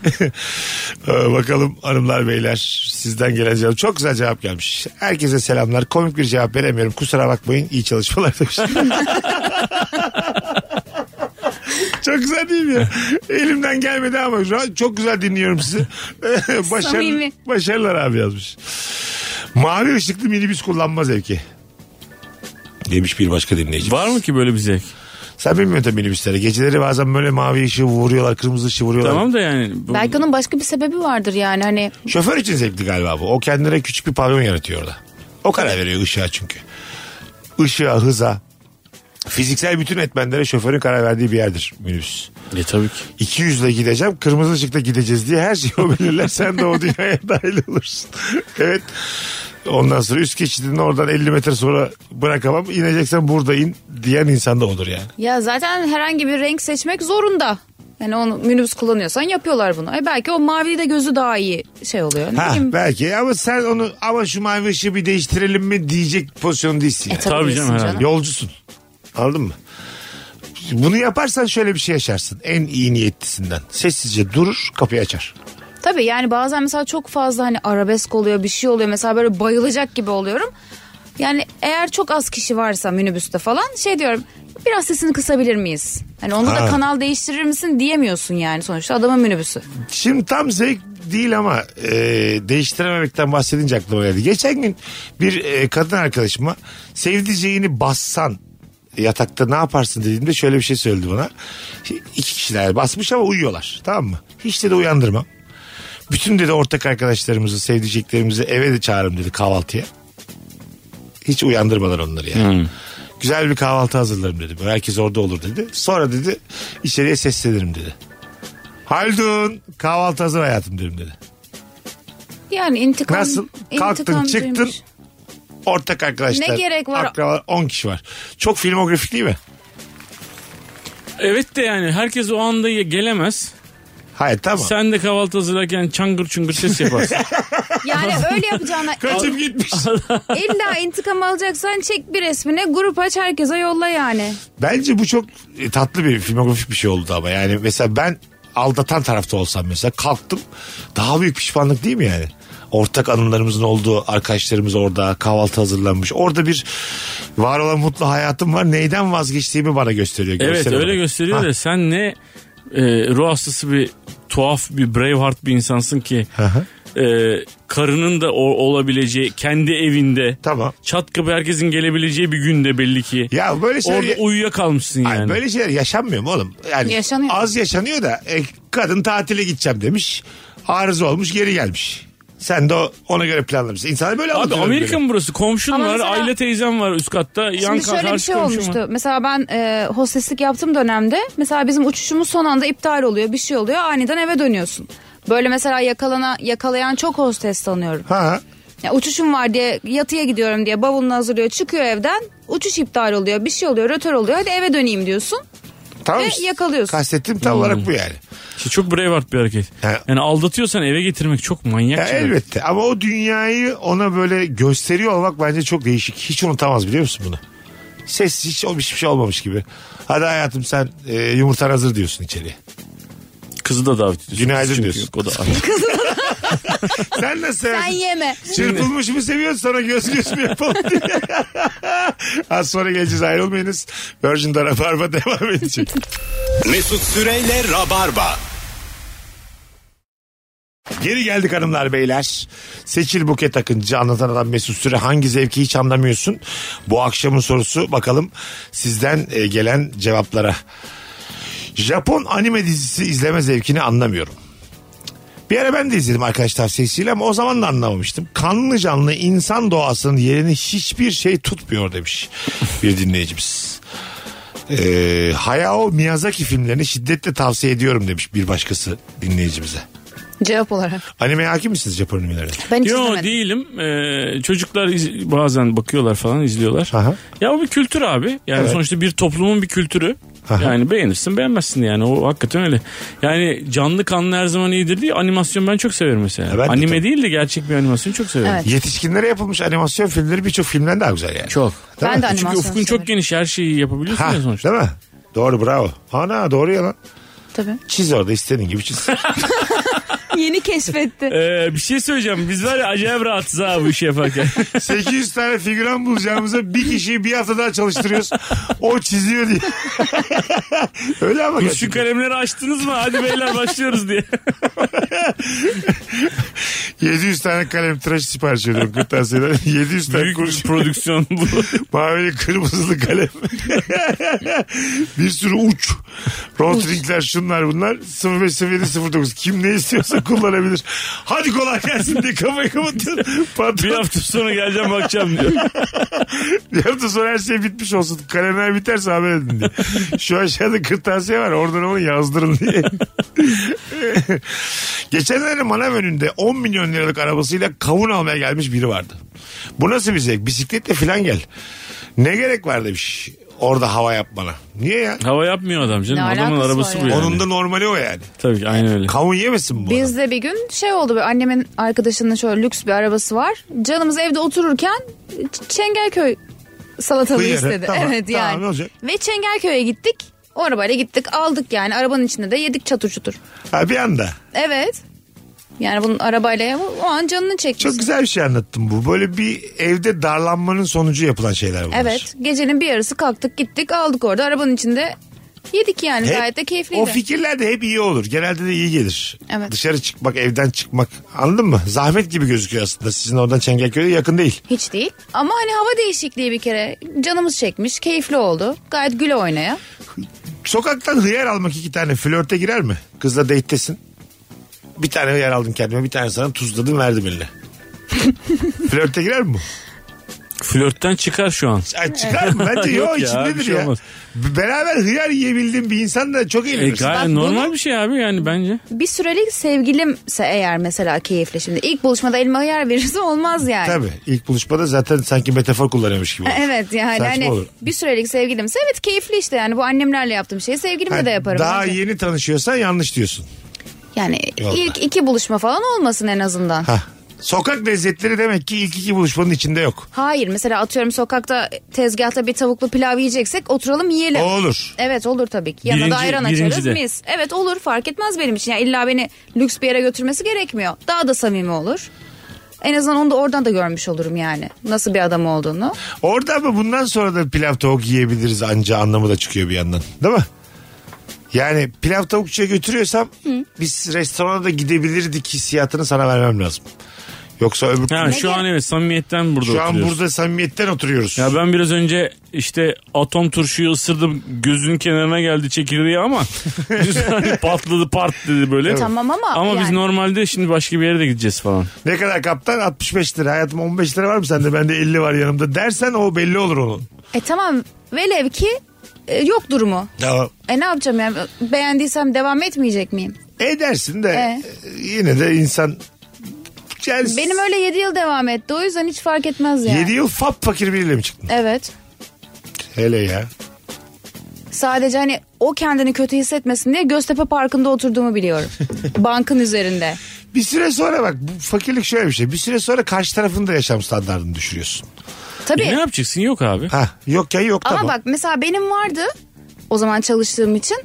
Ee, bakalım hanımlar beyler sizden gelen cevap. Çok güzel cevap gelmiş. Herkese selamlar. Komik bir cevap veremiyorum. Kusura bakmayın. İyi çalışmalar demiş. çok güzel değil mi? ya? Elimden gelmedi ama şu an çok güzel dinliyorum sizi. Başarılı,
Samimi.
başarılar abi yazmış. Mavi ışıklı minibüs kullanma zevki. Demiş bir başka dinleyici.
Var mı ki böyle bir zevk?
Sen bilmiyorsun tabii minibüslere. Geceleri bazen böyle mavi ışığı vuruyorlar, kırmızı ışığı vuruyorlar.
Tamam da yani. bu-
Belki onun başka bir sebebi vardır yani hani
Şoför için zevkli galiba bu. O kendine küçük bir pavyon yaratıyor orada. O karar veriyor ışığa çünkü. Işığa, hıza. Fiziksel bütün etmenlere şoförün karar verdiği bir yerdir minibüs.
E tabii ki.
200 ile gideceğim, kırmızı ışıkta gideceğiz diye her şeyi o belirler. Sen de o dünyaya dahil olursun. evet. Ondan sonra üst geçidin oradan 50 metre sonra bırakamam. İneceksen burada in diyen insan da olur yani.
ya zaten herhangi bir renk seçmek zorunda. Yani onu minibüs kullanıyorsan yapıyorlar bunu. E belki o mavi de gözü daha iyi şey oluyor. Ne
Ha,
bileyim.
belki ama sen onu ama şu mavi ışığı bir değiştirelim mi diyecek pozisyon değilsin. yani.
E, tabii
Tabii
bilirsin
canım, herhalde.
canım.
Yolcusun. Anladın mı? Bunu yaparsan şöyle bir şey yaşarsın. En iyi niyetlisinden. Sessizce durur kapıyı açar.
Tabii yani bazen mesela çok fazla hani arabesk oluyor bir şey oluyor. Mesela böyle bayılacak gibi oluyorum. Yani eğer çok az kişi varsa minibüste falan şey diyorum biraz sesini kısabilir miyiz? Hani onda
Ha.
da kanal değiştirir misin diyemiyorsun yani sonuçta adamın minibüsü.
Şimdi tam zevk değil ama e, değiştirememekten bahsedince aklıma geldi. Geçen gün bir e, kadın arkadaşıma sevdiceğini bassan yatakta ne yaparsın dediğimde şöyle bir şey söyledi bana. İki kişiler basmış ama uyuyorlar tamam mı? Hiç de, de uyandırmam. Bütün dedi ortak arkadaşlarımızı, sevdiceklerimizi eve de çağırın dedi kahvaltıya. Hiç uyandırmadan onları yani. Güzel bir kahvaltı hazırlarım dedi. Böyle Herkes orada olur dedi. Sonra dedi içeriye seslenirim dedi. Haldun kahvaltı hazır hayatım dedim dedi.
Yani intikam.
Nasıl? Kalktın
intikamcıymış.
çıktın ortak arkadaşlar.
Ne gerek var?
Akrabalar 10 kişi var. Çok filmografik değil mi?
Evet de yani herkes o anda ye- gelemez.
Hayır tamam.
Sen de kahvaltı hazırlarken çangır çungur ses yaparsın.
Yani öyle yapacağına
Kaçıp gitmiş.
illa intikam alacaksan çek bir resmine grup aç herkese yolla yani.
Bence bu çok e, tatlı bir filmografik bir şey oldu ama yani mesela ben aldatan tarafta olsam mesela kalktım daha büyük pişmanlık değil mi yani? Ortak anılarımızın olduğu arkadaşlarımız orada kahvaltı hazırlanmış. Orada bir var olan mutlu hayatım var. Neyden vazgeçtiğimi bana gösteriyor.
evet
Görsel
öyle
olarak.
gösteriyor
Ha,
da sen ne e, ruh hastası bir tuhaf bir braveheart bir insansın ki
hı.
e, karının da o, olabileceği kendi evinde
Tamam.
çat kapı herkesin gelebileceği bir günde belli ki.
Ya böyle şeyler...
Orada uyuyakalmışsın yani.
Ay, böyle şeyler yaşanmıyor mu oğlum? Yani
Yaşanıyor.
Az yaşanıyor da e, kadın tatile gideceğim demiş. Arıza olmuş geri gelmiş. Sen de o- ona göre planlamışsın. İnsanlar böyle
Abi
aldatıyor
Amerika
birbirini.
mı burası? Komşun
Ama
var,
mesela-
aile teyzem var üst katta. Yan
Şimdi
ka-
şöyle bir
karşı
şey
komşum
olmuştu.
var.
Mesela ben e, hosteslik yaptığım dönemde mesela bizim uçuşumuz son anda iptal oluyor bir şey oluyor aniden eve dönüyorsun. Böyle mesela yakalana yakalayan çok hostes tanıyorum.
Ha.
Ya uçuşum var diye yatıya gidiyorum diye bavulunu hazırlıyor çıkıyor evden uçuş iptal oluyor bir şey oluyor rötör oluyor hadi eve döneyim diyorsun.
Tamam.
Ve
işte.
yakalıyorsun.
Kastettiğim tam
Hmm.
olarak bu yani.
İşte çok braveheart bir hareket.
Ha.
Yani aldatıyorsan eve getirmek çok
Ya
manyakça. bir-
elbette ama o dünyayı ona böyle gösteriyor olmak bence çok değişik. Hiç unutamaz biliyor musun bunu? Ses hiç o- hiçbir şey olmamış gibi. Hadi hayatım sen e, yumurtan hazır diyorsun içeriye.
Kızı da davet ediyorsun.
Günaydın
Kız çünkü
diyorsun.
yok, o da
Sen nasıl
Ben
seversin?
yeme.
Çırpılmış mı seviyorsun sonra göz göz mü yapalım diye. Az sonra geleceğiz ayrılmayınız. Virgin'de Rabarba devam edecek.
Mesut Süreyle Rabarba.
Geri geldik hanımlar beyler. Seçil Buket Akıncı anlatan adam Mesut Süre hangi zevki hiç anlamıyorsun? Bu akşamın sorusu bakalım sizden e, gelen cevaplara. Japon anime dizisi izleme zevkini anlamıyorum. Bir ara ben de izledim arkadaş tavsiyesiyle ama o zaman da anlamamıştım. Kanlı canlı insan doğasının yerini hiçbir şey tutmuyor demiş bir dinleyicimiz. Ee, Hayao Miyazaki filmlerini şiddetle tavsiye ediyorum demiş bir başkası dinleyicimize.
Cevap olarak.
Animeye hakim misiniz Japon animelerine?
Ben hiç
Yo
izlemedim.
değilim. Ee, çocuklar iz- bazen bakıyorlar falan izliyorlar.
Aha.
Ya bu bir kültür abi. Yani
Evet.
sonuçta bir toplumun bir kültürü.
Aha.
Yani beğenirsin beğenmezsin yani o hakikaten öyle. Yani canlı kanlı her zaman iyidir diye animasyon ben çok severim mesela.
Ya E ben de
Anime
tabii.
değil de gerçek bir animasyonu çok severim.
Evet.
Yetişkinlere yapılmış animasyon filmleri birçok filmden daha güzel yani.
Çok.
Değil mi?
ben de
Çünkü
animasyon
ufkun çok
severim.
geniş her şeyi yapabiliyorsun
Ha,
ya sonuçta.
değil mi? Doğru bravo. Ana doğru ya lan.
Tabii.
Çiz orada istediğin gibi çiz.
Yeni keşfetti.
Ee, bir şey söyleyeceğim. Biz var ya acayip rahatsız ha bu işi yaparken.
800 tane figüran bulacağımıza bir kişiyi bir hafta daha çalıştırıyoruz. O çiziyor diye. Öyle ama
Şu
gerçekten.
kalemleri açtınız mı? Hadi beyler başlıyoruz diye.
700 tane kalem tıraş sipariş ediyorum kırtasiyeden. 700 tane
Büyük bir
kurşun.
prodüksiyon bu.
Mavi kırmızılı kalem. bir sürü uç. Rotringler şunlar bunlar. 0507 09. Kim ne istiyorsa kullanabilir. Hadi kolay gelsin diye kafayı kapatıyorum.
bir
Patron
hafta sonra geleceğim bakacağım diyor.
bir hafta sonra her şey bitmiş olsun. Kalemler biterse haber edin diye. Şu aşağıda kırtasiye var. Oradan onu yazdırın diye. Geçenlerde manav önünde 10 milyon liralık arabasıyla kavun almaya gelmiş biri vardı. Bu nasıl bir zevk? Bisikletle falan gel. Ne gerek var demiş. Orada hava yapmana. Niye ya?
Hava yapmıyor adam canım.
Ne
Adamın
alakası
arabası
var
bu
ya?
yani.
Onun da normali o yani.
Tabii ki aynı öyle.
Kavun yemesin bu adam.
Bizde bir gün şey oldu böyle annemin arkadaşının şöyle lüks bir arabası var. Canımız evde otururken Ç- Çengelköy salatalığı
Hıyarı,
istedi.
tamam,
evet
tamam,
yani.
ne olacak?
Ve Çengelköy'e gittik. O arabayla gittik aldık yani arabanın içinde de yedik çatır çutur.
Ha bir anda.
Evet. Yani bunun arabayla o an canını çekmiş.
Çok güzel bir şey anlattın bu. Böyle bir evde darlanmanın sonucu yapılan şeyler bunlar.
Evet gecenin bir yarısı kalktık gittik aldık orada arabanın içinde yedik yani
Hep-
gayet de keyifliydi.
O fikirler de hep iyi olur. Genelde de iyi gelir.
Evet.
Dışarı çıkmak, evden çıkmak. Anladın mı? Zahmet gibi gözüküyor aslında. Sizin oradan Çengelköy'e yakın değil.
Hiç değil ama hani hava değişikliği bir kere canımız çekmiş keyifli oldu gayet güle oynaya.
Sokaktan hıyar almak iki tane flörte girer mi? Kızla date'tesin. Bir tane yer aldım kendime bir tane sana tuzladım verdim eline. Flörte girer mi bu?
Flörtten çıkar şu an. E,
Ay çıkar mı? Bence
Yok
yok,
ya,
içindedir
bir şey
ya.
olmaz.
B- Beraber hıyar yiyebildiğin bir insan da çok
E,
eğlenirsin.
gayet
Bak
normal
bunu-
bir şey abi yani bence.
Bir sürelik sevgilimse eğer mesela keyifli şimdi ilk buluşmada elime yer verirse olmaz yani.
Tabii. ilk buluşmada zaten sanki metafor kullanıyormuş gibi. olur.
Evet yani
Saçma
hani
olur.
bir sürelik sevgilimse evet keyifli işte yani bu annemlerle yaptığım şeyi sevgilimle
Ha,
de yaparım.
Daha
bence.
yeni tanışıyorsan yanlış diyorsun.
Yani
Yolda.
ilk iki buluşma falan olmasın en azından.
Ha. Sokak lezzetleri demek ki ilk iki buluşmanın içinde yok.
Hayır mesela atıyorum sokakta tezgahta bir tavuklu pilav yiyeceksek oturalım yiyelim.
O olur.
Evet olur tabii ki. Yanına da
Birinci-
ayran
birinci
açarız
de.
mis. Evet olur fark etmez benim için. Yani illa beni lüks bir yere götürmesi gerekmiyor. Daha da samimi olur. En azından onu da oradan da görmüş olurum yani. Nasıl bir adam olduğunu.
Orada ama bundan sonra da pilav tavuk yiyebiliriz anca anlamı da çıkıyor bir yandan. Değil mi? Yani pilav tavukçuya götürüyorsam biz restorana da gidebilirdik hissiyatını sana vermem lazım. Yoksa öbür
Ha, şu an evet samimiyetten burada
şu an
oturuyoruz.
burada samimiyetten oturuyoruz.
Ya ben biraz önce işte atom turşuyu ısırdım gözünün kenarına geldi çekirdeği ama hani patladı part dedi böyle.
Tamam ama
Ama biz
yani-
normalde şimdi başka bir yere de gideceğiz falan.
Ne kadar kaptan? 65 lira. Hayatım 15 lira var mı sende? Bende 50 var yanımda. Dersen o belli olur onun.
E tamam velev ki e, yok durumu.
Tamam.
E ne yapacağım yani beğendiysem devam etmeyecek miyim?
Edersin de
E.
yine de insan yani
Benim öyle 7 yıl devam etti o yüzden hiç fark etmez yani.
7 yıl fap fakir biriyle mi çıktın?
Evet.
Hele ya.
Sadece hani o kendini kötü hissetmesin diye Göztepe Parkı'nda oturduğumu biliyorum. Bankın üzerinde.
Bir süre sonra bak bu fakirlik şöyle bir şey. Bir süre sonra karşı tarafın da yaşam standartını düşürüyorsun.
Tabii.
E ne yapacaksın yok abi.
Ha yok ya yok
Ama
tamam.
bak mesela benim vardı o zaman çalıştığım için.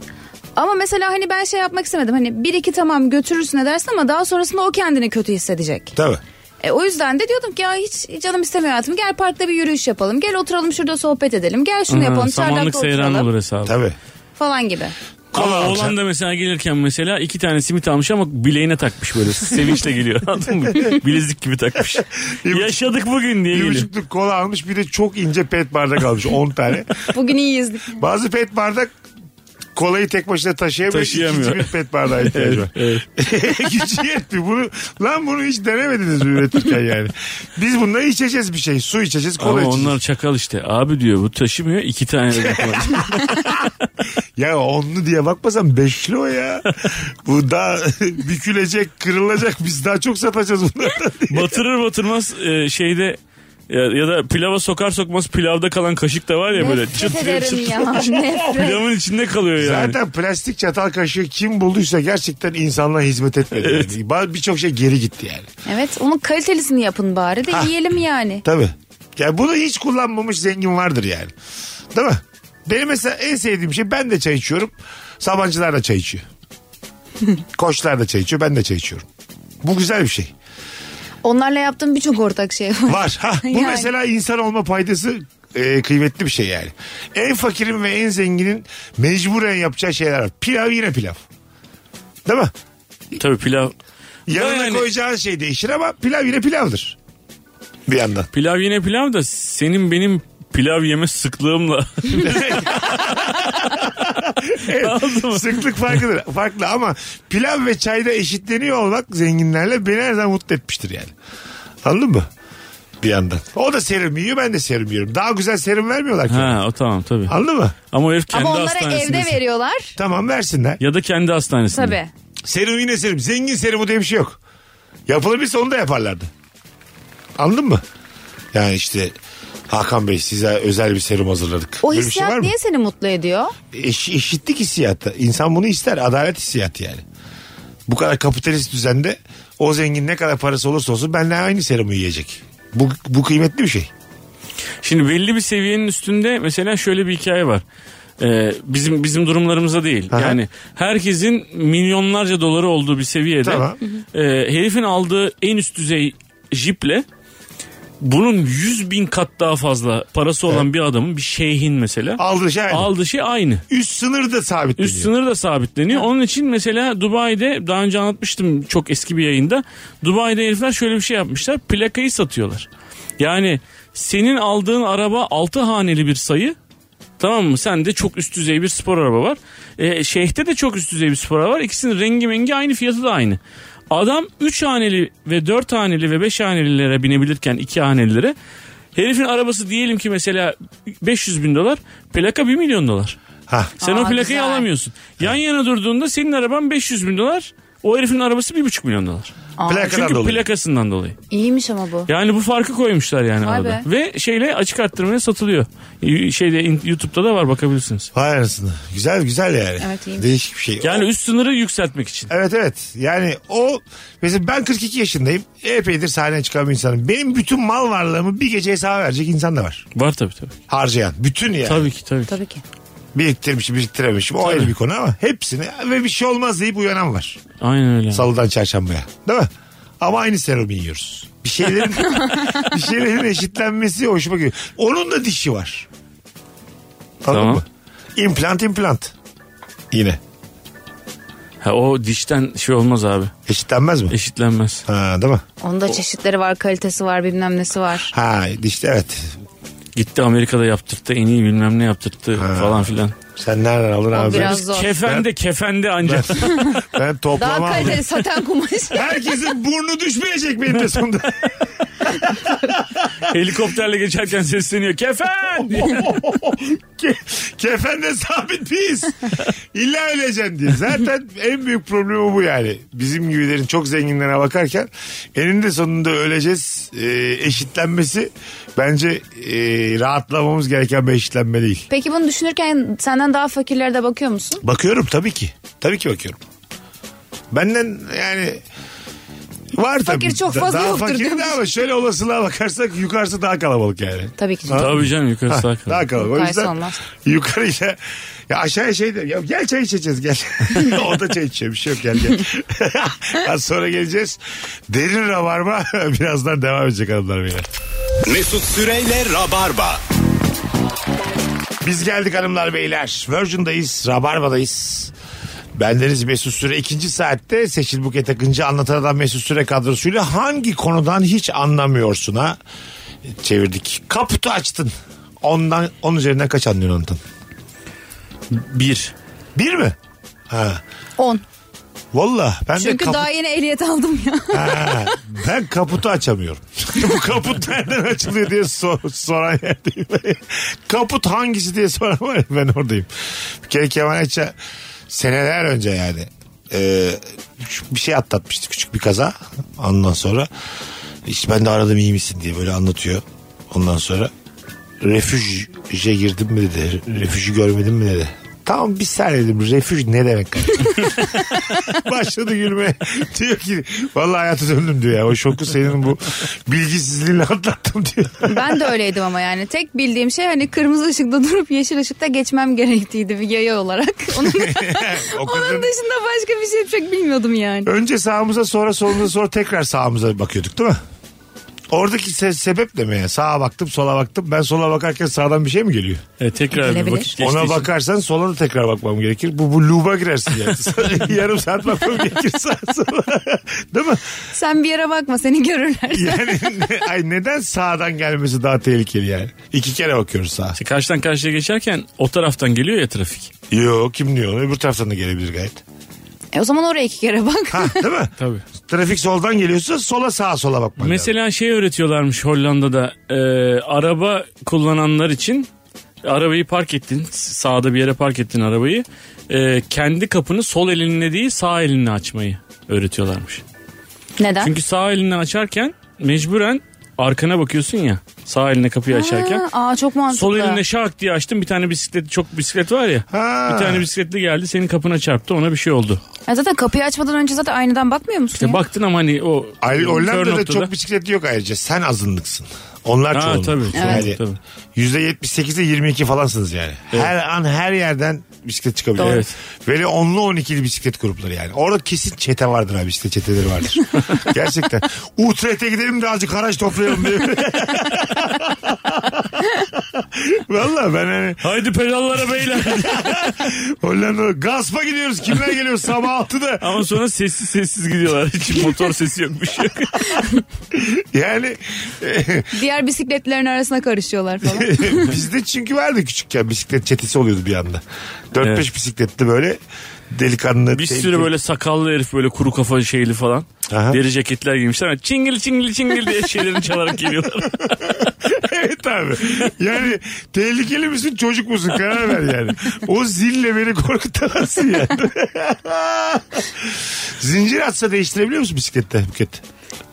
Ama mesela hani ben şey yapmak istemedim. Hani bir iki tamam götürürsün edersin ama daha sonrasında o kendini kötü hissedecek.
Tabii.
E, o yüzden de diyordum ki ya hiç canım istemiyor hayatım. Gel parkta bir yürüyüş yapalım. Gel oturalım şurada sohbet edelim. Gel şunu
Aha,
yapalım.
samanlık
Çardakta
seyran
oturalım.
olur hesabı.
Tabii.
Falan gibi.
Ama
Kola
oğlan
alacaksın.
da mesela gelirken mesela iki tane simit almış ama bileğine takmış böyle. Sevinçle geliyor anladın mı? Bilezik gibi takmış. Yaşadık bugün diye
Bir şey.
geliyor.
buçukluk kola almış bir de çok ince pet bardak almış 10 tane.
Bugün iyiyiz.
Bazı pet bardak kolayı tek başına taşıyamıyor.
Taşıyamıyor.
İkinci bir pet bardağı ihtiyacı var. Gücü yetmiyor. Bunu, lan bunu hiç denemediniz mi üretirken yani. Biz bunları içeceğiz bir şey. Su içeceğiz, kola
Ama
içeceğiz.
onlar çakal işte. Abi diyor bu taşımıyor iki tane de var.
Ya onlu diye bakmasan beşli o ya. Bu daha bükülecek, kırılacak. Biz daha çok satacağız bunlardan.
Batırır batırmaz e, şeyde ya, ya da pilava sokar sokmaz pilavda kalan kaşık da var ya böyle
Nefret
çıt diye
ederim
çıt.
ya. Nefret.
Pilavın içinde kalıyor yani.
Zaten plastik çatal kaşığı kim bulduysa gerçekten insanlığa hizmet etmedi. Yani. Ba- Birçok şey geri gitti yani.
Evet onun kalitelisini yapın bari de yiyelim yani.
Tabii. Ya bunu hiç kullanmamış zengin vardır yani. Değil mi? Benim mesela en sevdiğim şey ben de çay içiyorum. Sabancılar da çay içiyor. Koçlar da çay içiyor. Ben de çay içiyorum. Bu güzel bir şey.
Onlarla yaptığım birçok ortak şey var.
Var. Ha, bu
Yani.
mesela insan olma paydası e, kıymetli bir şey yani. En fakirin ve en zenginin mecburen yapacağı şeyler var. Pilav yine pilav. Değil mi?
Tabii pilav.
Yanına
Yani-
koyacağın şey değişir ama pilav yine pilavdır. Bir yandan.
Pilav yine pilav da senin benim pilav yeme sıklığımla. Anladın mı?
Sıklık farkıdır. Farklı ama pilav ve çayda eşitleniyor olmak zenginlerle beni her zaman mutlu etmiştir yani. Anladın mı? Bir yandan. O da serum yiyor ben de serum yiyorum. Daha güzel serum vermiyorlar ki.
ha o tamam tabii.
Anladın mı?
Ama o herif kendi
Ama onlara
hastanesinde.
evde veriyorlar.
Tamam versinler.
Ya da kendi hastanesinde.
Tabii.
Serum yine serum. Zengin serumu diye bir şey yok. Yapılabilirse onu da yaparlardı. Anladın mı? Yani işte Hakan Bey size özel bir serum hazırladık.
O
Böyle bir şey
hissiyat
var mı?
niye seni mutlu ediyor?
Eş- eşitlik hissiyatı. İnsan bunu ister. Adalet hissiyatı yani. Bu kadar kapitalist düzende o zengin ne kadar parası olursa olsun benle aynı serumu yiyecek. Bu, bu kıymetli bir şey.
Şimdi belli bir seviyenin üstünde mesela şöyle bir hikaye var. Ee, bizim bizim durumlarımızda değil.
Aha.
Yani herkesin milyonlarca doları olduğu bir seviyede
Tamam.
e, herifin aldığı en üst düzey jiple bunun 100 bin kat daha fazla parası olan bir adamın bir şeyhin mesela
Aldığı şey aynı.
aldığı şey aynı.
Üst sınır da sabit.
Üst sınır da sabitleniyor. Onun için mesela Dubai'de daha önce anlatmıştım çok eski bir yayında. Dubai'de herifler şöyle bir şey yapmışlar. Plakayı satıyorlar. Yani senin aldığın araba 6 haneli bir sayı. Tamam mı? Sende çok üst düzey E, bir spor araba var. Ee, şeyh'te de çok üst düzey bir spor araba var. İkisinin rengi mengi aynı fiyatı da aynı. Adam 3 haneli ve 4 haneli ve 5 hanelilere binebilirken 2 hanelilere herifin arabası diyelim ki mesela 500 bin dolar plaka 1 milyon dolar.
Ha.
Sen
Aa,
o plakayı
güzel.
alamıyorsun. Yan yana durduğunda senin araban 500 bin dolar o herifin arabası 1,5 milyon dolar.
Plakadan
Çünkü
dolayı.
plakasından dolayı.
İyiymiş ama bu.
Yani bu farkı koymuşlar yani
Vay
arada. Ve şeyle açık arttırmaya satılıyor. Y- Şeyde in- YouTube'da da var bakabilirsiniz.
Vay anasını. Güzel güzel yani.
Evet, iyiymiş.
Değişik bir şey.
Yani üst sınırı yükseltmek için.
Evet evet. Yani o mesela ben 42 yaşındayım. Epeydir sahneye çıkan bir insanım. Benim bütün mal varlığımı bir gece hesaba verecek insan da var.
Var tabii tabii.
Harcayan. Bütün yani.
Tabii ki tabii. ki.
Tabii ki.
Biriktirmişim, biriktiremişim. O ayrı bir konu ama hepsini ve bir şey olmaz deyip uyanan var.
Aynen öyle.
Salıdan çarşambaya. Değil mi? Ama aynı serumu yiyoruz. Bir şeylerin bir şeylerin eşitlenmesi hoşuma gidiyor. Onun da dişi var. Anladın
Tamam.
mı? İmplant implant. Yine.
ha, o dişten şey olmaz abi.
Eşitlenmez mi?
Eşitlenmez.
Ha, değil mi?
Onda çeşitleri var, kalitesi var, bilmem nesi var.
Ha işte evet.
Gitti Amerika'da yaptırttı. En iyi bilmem ne yaptırttı falan filan.
Sen nereden alır abi?
biraz zor.
Kefende kefende ancak.
Ben
Daha
toplama aldım.
kaliteli saten kumaş.
Herkesin burnu düşmeyecek benim de sonunda.
Helikopterle geçerken sesleniyor. Kefen! diye.
Ke- Kefende sabit biz. İlla öleceksin diye. Zaten en büyük problemi bu yani. Bizim gibilerin çok zenginlere bakarken eninde sonunda öleceğiz. Ee, eşitlenmesi bence e, rahatlamamız gereken bir eşitlenme değil.
Peki bunu düşünürken senden daha fakirlere de bakıyor musun?
Bakıyorum tabii ki. Tabii ki bakıyorum. Benden yani var tabii.
çok
Da-
fazla
daha
yoktur
fakir de
demiş.
ama şöyle olasılığa bakarsak yukarısı daha kalabalık yani.
Tabii ki.
Tabii canım yukarısı
Ha,
daha
Daha
kalın.
kalabalık. O
Yukarısı
yüzden
olmaz.
yukarıyla ya aşağıya şey de ya gel çay içeceğiz gel. o da çay içiyor bir şey yok gel gel. Az sonra geleceğiz. Derin rabarba birazdan devam edecek hanımlar beyler.
Mesut Süreyle Rabarba.
Biz geldik hanımlar beyler. Virgin'dayız, Rabarba'dayız. Bendeniz Mesut Süre ikinci saatte Seçil Buket Akıncı anlatan adam Mesut Süre kadrosuyla hangi konudan hiç anlamıyorsun ha çevirdik. Kaputu açtın. Ondan, onun üzerinden kaç anlıyorsun Anlatan?
Bir.
Bir mi? Ha.
10.
Valla ben de
Çünkü
kaput-
daha yeni ehliyet aldım ya.
Ha, ben kaputu açamıyorum. Bu kaput nereden açılıyor diye sor, soran yerdeyim. kaput hangisi diye soran var ya ben oradayım. Bir kere Kemal Ayça seneler önce yani e, şu- bir şey atlatmıştı küçük bir kaza. Ondan sonra işte ben de aradım iyi misin diye böyle anlatıyor. Ondan sonra refüje girdim mi dedi. Refüji görmedim mi dedi. Tamam bir saniye dedim. Refüj ne demek? Başladı gülmeye. diyor ki vallahi hayata döndüm diyor ya. O şoku senin bu bilgisizliğinle atlattım diyor.
Ben de öyleydim ama yani tek bildiğim şey hani kırmızı ışıkta durup yeşil ışıkta geçmem gerektiğiydi bir yaya olarak. Onun,
o kadın-
onun dışında başka bir şey çok bilmiyordum yani.
Önce sağımıza sonra solumuza sonra tekrar sağımıza bakıyorduk değil mi? Oradaki se- sebep ne mi? ya? Sağa baktım sola baktım. Ben sola bakarken sağdan bir şey mi geliyor?
E, tekrar bir
Gelebilir.
vakit geçtiği
Ona
için.
bakarsan sola da tekrar bakmam gerekir. Bu, bu luba girersin yani. Yarım saat bakmam gerekir sağa sola. Değil mi?
Sen bir yere bakma seni görürler.
Yani ne- ay neden sağdan gelmesi daha tehlikeli yani? İki kere bakıyoruz sağa.
İşte Karşıdan karşıya geçerken o taraftan geliyor ya trafik.
Yo kim diyor? Öbür taraftan da gelebilir gayet.
E o zaman oraya iki kere bak.
Ha, değil mi?
Tabii.
Trafik soldan geliyorsa sola sağa sola bakman lazım.
Mesela şey öğretiyorlarmış Hollanda'da e, araba kullananlar için arabayı park ettin sağda bir yere park ettin arabayı e, kendi kapını sol elinle değil sağ elinle açmayı öğretiyorlarmış.
Neden?
Çünkü sağ elinle açarken mecburen arkana bakıyorsun ya sağ eline kapıyı açarken.
Ha, aa çok mantıklı.
Sol elinle şak diye açtım bir tane bisiklet çok bisiklet var ya
Ha.
bir tane bisikletli geldi senin kapına çarptı ona bir şey oldu.
Ya zaten kapıyı açmadan önce zaten aynadan bakmıyor musun?
İşte
ya?
baktın ama hani o
Ay,
kör
Hollanda'da
noktada-
çok şey- bisikletli yok ayrıca. Sen azınlıksın. Onlar
Ha,
çoğunluk.
tabii,
Yani
Evet. tabii.
%78'e 22 falansınız yani. Her an her yerden bisiklet çıkabilir.
Doğru. Evet.
Böyle onlu 12'li bisiklet grupları yani. Orada kesin çete vardır abi bisiklet çeteleri vardır. Gerçekten. Utrecht'e gidelim de azıcık haraç toplayalım diye. Valla ben hani
Haydi pedallara beyler.
Hollanda'da gaspa gidiyoruz. Kimler geliyor sabah 6'da.
Ama sonra sessiz sessiz gidiyorlar. Hiç motor sesi yok bir şey. yok.
Yani e,
Diğer bisikletlerin arasına karışıyorlar falan.
Bizde çünkü vardı küçükken bisiklet çetesi oluyordu bir anda. 4-5
Evet.
bisikletli böyle delikanlı.
Bir sürü
tehlikeli.
böyle sakallı herif böyle kuru kafa şeyli falan.
Aha.
Deri ceketler giymişler ama çingil çingil çingil diye şeylerini çalarak geliyorlar.
evet abi. Yani tehlikeli misin çocuk musun karar ver yani. O zille beni korkutamazsın yani. Zincir atsa değiştirebiliyor musun bisiklette Buket?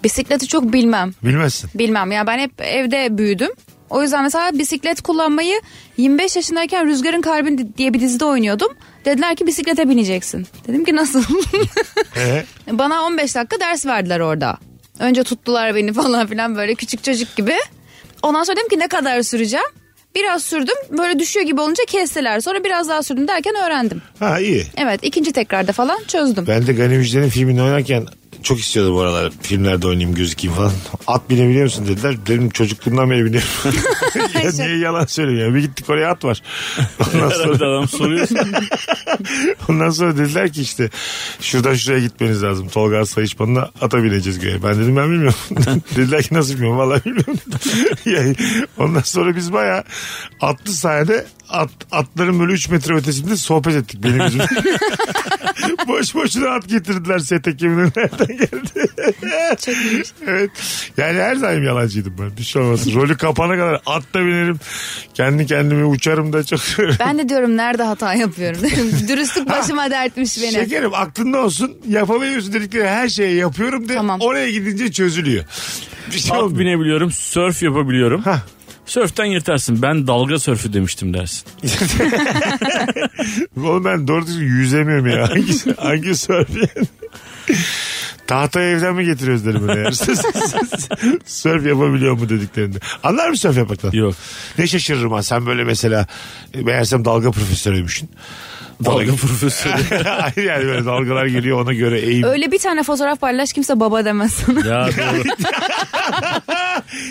Bisikleti çok bilmem.
Bilmezsin.
Bilmem ya ben hep evde büyüdüm. O yüzden mesela bisiklet kullanmayı 25 yaşındayken Rüzgar'ın Kalbi di- diye bir dizide oynuyordum. Dediler ki bisiklete bineceksin. Dedim ki nasıl?
Ee,
Bana 15 dakika ders verdiler orada. Önce tuttular beni falan filan böyle küçük çocuk gibi. Ondan sonra dedim ki ne kadar süreceğim? Biraz sürdüm böyle düşüyor gibi olunca kestiler. Sonra biraz daha sürdüm derken öğrendim.
ha iyi.
Evet ikinci tekrarda falan çözdüm.
Ben de Gani Müjde'nin filmini oynarken çok istiyordum bu aralar. Filmlerde oynayayım gözükeyim falan. At binebiliyor musun dediler. Dedim çocukluğumdan beri biliyorum. ya niye yalan söylüyorum ya. Bir gittik oraya at var. Ondan
Herhalde
sonra,
adam soruyor.
ondan sonra dediler ki işte şuradan şuraya gitmeniz lazım. Tolga Sayışman'la ata bineceğiz göğe. Ben dedim ben bilmiyorum. dediler ki nasıl bilmiyorum. Vallahi bilmiyorum. dedim. yani ondan sonra biz bayağı atlı sahne at, atların böyle 3 metre ötesinde sohbet ettik benim yüzümden. Boş boşuna at getirdiler sete kimin nereden geldi. evet. Yani her zaman yalancıydım ben. Bir şey olmasın. Rolü kapana kadar at da binerim. Kendi kendime uçarım da çok.
Ben de diyorum nerede hata yapıyorum. Dürüstlük başıma dertmiş beni.
Şekerim aklında olsun yapamıyorsun dedikleri her şeyi yapıyorum de
Tamam.
oraya gidince çözülüyor. Bir şey
At
olmuyor.
binebiliyorum, sörf yapabiliyorum.
Hah.
Sörften yırtarsın. Ben dalga sörfü demiştim dersin.
Oğlum ben doğru düzgün yüzemiyorum ya. Hangi, hangi sörf Tahtayı evden mi getiriyoruz derim öyle yani. sörf yapabiliyor mu dediklerinde. Anlar mı sörf yapmaktan?
Yok.
Ne şaşırırım ha sen böyle mesela e, meğersem dalga profesörüymüşsün.
Dalga profesörü.
Hayır yani böyle dalgalar geliyor ona göre eğim.
Öyle bir tane fotoğraf paylaş kimse baba demez sana.
ya doğru.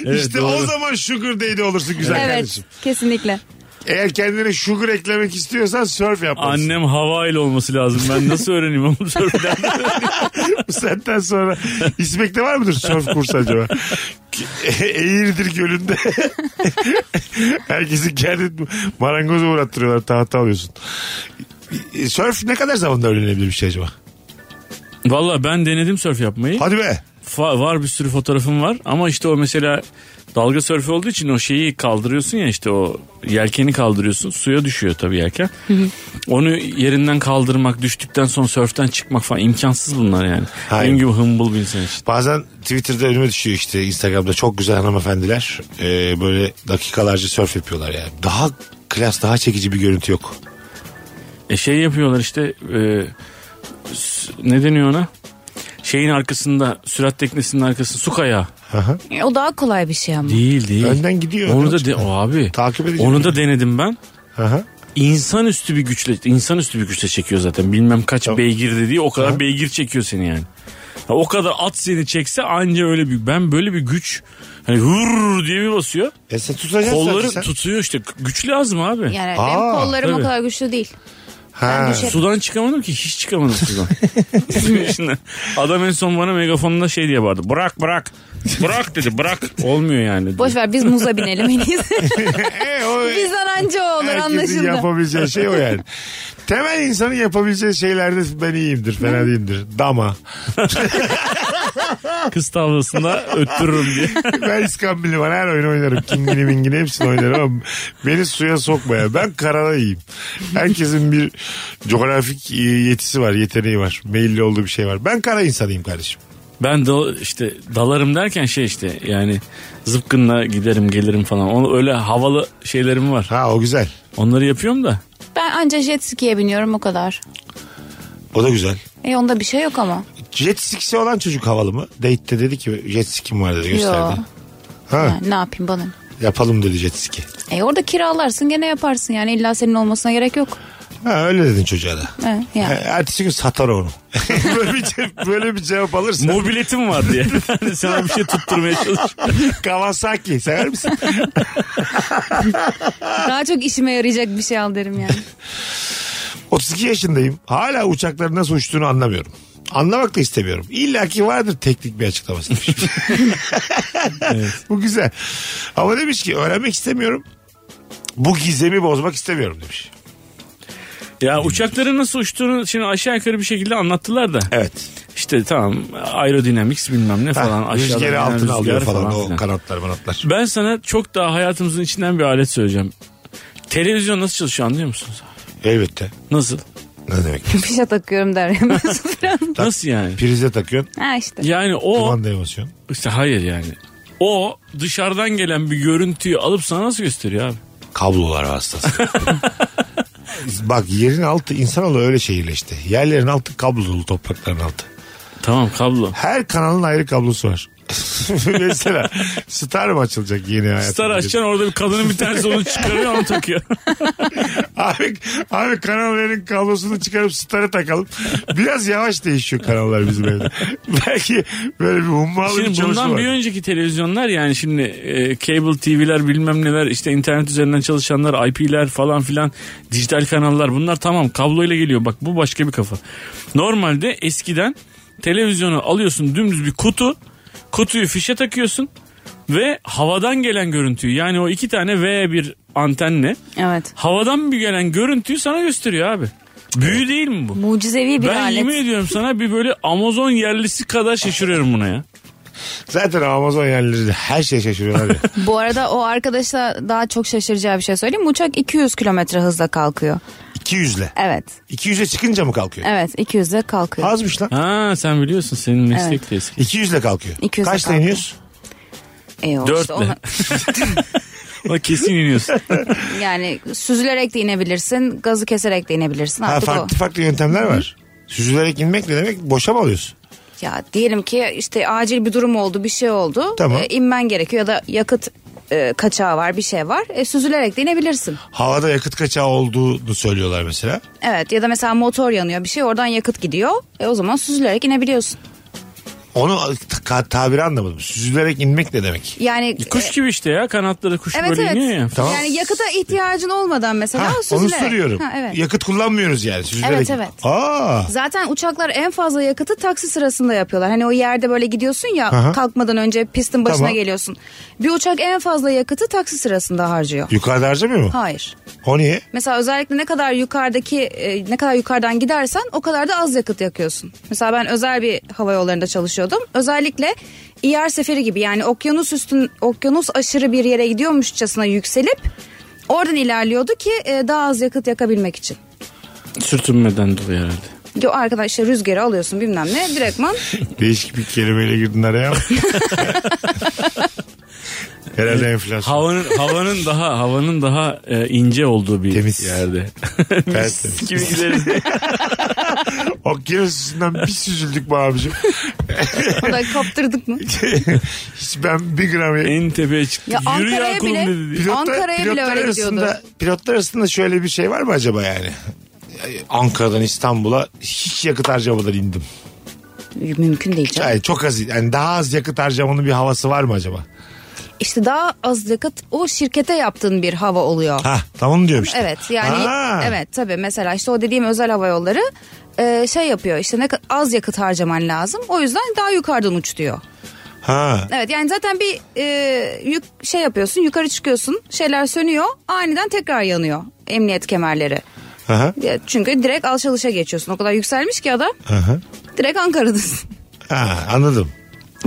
Evet,
işte o
doğru.
zaman sugar daddy olursun güzel
evet
kardeşim.
kesinlikle.
Eğer kendine sugar eklemek istiyorsan sörf yapmalısın.
Annem havayla olması lazım. Ben nasıl öğreneyim onu sörften?
Bu saatten sonra İsmek'te var mıdır sörf kursu acaba? E- Eğirdir gölünde. Herkesi kendi marangoza uğrattırıyorlar tahta alıyorsun. E, Sörf ne kadar zamanda öğrenilebilir bir şey acaba?
Valla ben denedim sörf yapmayı.
Hadi be.
Fa- var bir sürü fotoğrafım var ama işte o mesela dalga sörfü olduğu için o şeyi kaldırıyorsun ya işte o yelkeni kaldırıyorsun suya düşüyor tabii yelken. Onu yerinden kaldırmak düştükten sonra sörften çıkmak falan imkansız bunlar yani.
Hayır.
Benim gibi hımbıl bir insan işte.
Bazen Twitter'da önüme düşüyor işte Instagram'da çok güzel hanımefendiler e, böyle dakikalarca sörf yapıyorlar yani. Daha klas daha çekici bir görüntü yok.
E şey yapıyorlar işte e, s- ne deniyor ona? Şeyin arkasında sürat teknesinin arkasında su kayağı.
E, O daha kolay bir şey ama.
Değil değil.
Önden gidiyor.
Onu
önden
da de,
çıkıyor.
o abi.
Takip edeceğim.
Onu da denedim ben.
Aha.
İnsanüstü bir güçle insanüstü bir güçle çekiyor zaten. Bilmem kaç beygir dediği o kadar beygir çekiyor seni yani. Ha, o kadar at seni çekse anca öyle bir ben böyle bir güç hani hurr diye bir basıyor.
E sen tutacaksın
Kolları
zaten sen.
tutuyor işte. Güç lazım abi.
Yani
Aa,
benim kollarım
tabii.
o kadar güçlü değil.
Ha.
düşerim.
Sudan çıkamadım ki hiç çıkamadım sudan. Şimdi Adam en son bana megafonunda şey diye bağırdı. Bırak bırak. Bırak dedi bırak. Olmuyor yani.
Boş ver biz muza binelim en iyisi.
E, o-
Bizden anca o olur
Herkesin
anlaşıldı.
yapabileceği şey o yani. Temel insanın yapabileceği şeylerde ben iyiyimdir, fena değilimdir. Dama.
Kız tavlasında öttürürüm diye.
Ben iskambili var her oyun oynarım. Kingini mingini hepsini oynarım ama beni suya sokmaya. Ben karada iyiyim. Herkesin bir coğrafik e, yetisi var, yeteneği var. Meyilli olduğu bir şey var. Ben kara insanıyım kardeşim.
Ben dal, işte dalarım derken şey işte yani zıpkınla giderim gelirim falan. Onu öyle havalı şeylerim var.
Ha o güzel.
Onları yapıyorum da.
Ben anca jet ski'ye biniyorum o kadar.
O da güzel.
E onda bir şey yok ama.
Jet skisi olan çocuk havalı mı? Date'te dedi ki jet skim var dedi
Yo.
gösterdi. Ha,
Yani ne yapayım bana. ne?
yapalım dedi jet ski.
E orada kiralarsın gene yaparsın yani illa senin olmasına gerek yok.
Ha öyle dedin çocuğa da.
He, yani.
Ha, Ertesi gün satar onu. böyle, bir cevap, böyle bir cevap alırsan.
Mobiletim var diye. Yani sana bir şey tutturmaya çalışıyorum.
Kawasaki sever misin?
Daha çok işime yarayacak bir şey al derim yani.
32 yaşındayım. Hala uçakların nasıl uçtuğunu anlamıyorum. Anlamak da istemiyorum. İlla ki vardır teknik bir açıklaması. demiş. Bu güzel. Ama demiş ki öğrenmek istemiyorum. Bu gizemi bozmak istemiyorum demiş.
Ya uçakların nasıl uçtuğunu şimdi aşağı yukarı bir şekilde anlattılar da.
Evet.
İşte tamam aerodinamics bilmem ne falan.
Ha,
aşağıdan
rüzgarı
gelen
altına
rüzgar
alıyor falan, o
filan.
kanatlar manatlar.
Ben sana çok daha hayatımızın içinden bir alet söyleyeceğim. Televizyon nasıl çalışıyor anlıyor musunuz?
Elbette.
Nasıl?
Ne demek?
Fişe takıyorum der ya Mesut Bey.
Nasıl yani?
Prize takıyorsun.
Ha işte.
Yani o
Kumandaya basıyorsun.
işte hayır yani. O dışarıdan gelen bir görüntüyü alıp sana nasıl gösteriyor abi?
Kablolar hastası. Bak yerin altı insanoğlu öyle şehirleşti. Yerlerin altı kablolu toprakların altı.
Tamam kablo.
Her kanalın ayrı kablosu var. Mesela Star mı açılacak yeni hayatımda?
Star açacaksın orada bir kadının bir tanesi onu çıkarıyor onu takıyor.
Abi, abi kanalların kablosunu çıkarıp starı takalım. Biraz yavaş değişiyor kanallar bizim evde. Belki böyle bir hummalı bir
Şimdi
çalışma
bundan
var.
bir önceki televizyonlar yani şimdi e, cable TV'ler bilmem neler işte internet üzerinden çalışanlar IP'ler falan filan dijital kanallar bunlar tamam kabloyla geliyor bak bu başka bir kafa. Normalde eskiden televizyonu alıyorsun dümdüz bir kutu kutuyu fişe takıyorsun ve havadan gelen görüntüyü yani o iki tane V bir antenle
Evet.
havadan bir gelen görüntüyü sana gösteriyor abi. Büyü değil mi bu?
Mucizevi bir
ben
alet.
yemin ediyorum sana bir böyle Amazon yerlisi kadar şaşırıyorum buna ya.
Zaten Amazon yerleri de her şeye şaşırıyorlar ya.
Bu arada o arkadaşa daha çok şaşıracağı bir şey söyleyeyim. mi? Uçak 200 kilometre hızla kalkıyor.
200'le.
Evet.
200'e çıkınca mı kalkıyor?
Evet 200'le kalkıyor.
Azmış lan.
Ha sen biliyorsun senin meslek de eski.
200'le kalkıyor.
200'le
Kaçla
kalkıyor.
iniyoruz?
E, o işte
Dörtle.
ona-
Ona kesin iniyorsun.
yani süzülerek de inebilirsin. Gazı keserek de inebilirsin.
Ha,
Artık o.
farklı farklı yöntemler var. Süzülerek inmek ne demek? Boşa mı alıyorsun?
Ya diyelim ki işte acil bir durum oldu, bir şey oldu.
Tamam.
E, inmen gerekiyor ya da yakıt e, kaçağı var, bir şey var. E, süzülerek de inebilirsin.
Havada yakıt kaçağı olduğunu söylüyorlar mesela.
Evet ya da mesela motor yanıyor bir şey oradan yakıt gidiyor. E o zaman süzülerek inebiliyorsun.
Onu ta- tabiri anlamadım. Süzülerek inmek ne demek?
Yani
Kuş
e,
gibi işte ya kanatları kuş
Evet
böyle
evet.
iniyor ya.
Tamam.
Yani yakıta ihtiyacın olmadan mesela
Ha, onu
süzülerek.
soruyorum.
Ha, evet.
Yakıt kullanmıyoruz yani. Süzülerek.
Evet, evet.
Aa,
Zaten uçaklar en fazla yakıtı taksi sırasında yapıyorlar. Hani o yerde böyle gidiyorsun ya
Aha.
kalkmadan önce pistin başına
Tamam.
geliyorsun. Bir uçak en fazla yakıtı taksi sırasında harcıyor.
yukarıda harcamıyor mu?
Hayır.
O niye?
Mesela özellikle ne kadar yukarıdaki e, ne kadar yukarıdan gidersen o kadar da az yakıt yakıyorsun. Mesela ben özel bir hava yollarında çalışıyordum. Özellikle İyer seferi gibi yani okyanus üstün okyanus aşırı bir yere gidiyormuşçasına yükselip oradan ilerliyordu ki e, daha az yakıt yakabilmek için.
Sürtünmeden dolayı herhalde.
Yo arkadaş işte rüzgarı alıyorsun bilmem ne direktman
Değişik bir kelimeyle girdin araya. ama. Herhalde enflasyon.
Havanın havanın daha havanın daha e, ince olduğu bir
Temiz.
yerde.
Tertemiz.
gibi gideriz.
Okyanus üstünden bir süzüldük be abicim.
o da kaptırdık mı?
Hiç ben bir gram
en tepeye çıktı.
Ya
Yürü ya
Ankara'ya
kulum
bile-
dedi. diye.
Pilotlar-
Ankara'ya bile
pilotlar
öyle gidiyordu.
arasında, Pilotlar arasında şöyle bir şey var mı acaba yani? Yani Ankara'dan İstanbul'a hiç yakıt harcamadan indim.
Mümkün değil canım.
Yani çok az yani daha az yakıt harcamanın bir havası var mı acaba?
İşte daha az yakıt o şirkete yaptığın bir hava oluyor.
Ha tamam diyorum işte.
Evet yani
Ha.
evet tabii mesela işte o dediğim özel hava yolları e, şey yapıyor işte ne ka- az yakıt harcaman lazım o yüzden daha yukarıdan uç diyor.
Ha.
Evet yani zaten bir e, yük, şey yapıyorsun yukarı çıkıyorsun şeyler sönüyor aniden tekrar yanıyor emniyet kemerleri.
Aha.
Ya Çünkü direkt alçalışa geçiyorsun o kadar yükselmiş ki adam
Aha.
direkt Ankara'dasın.
Ha, anladım.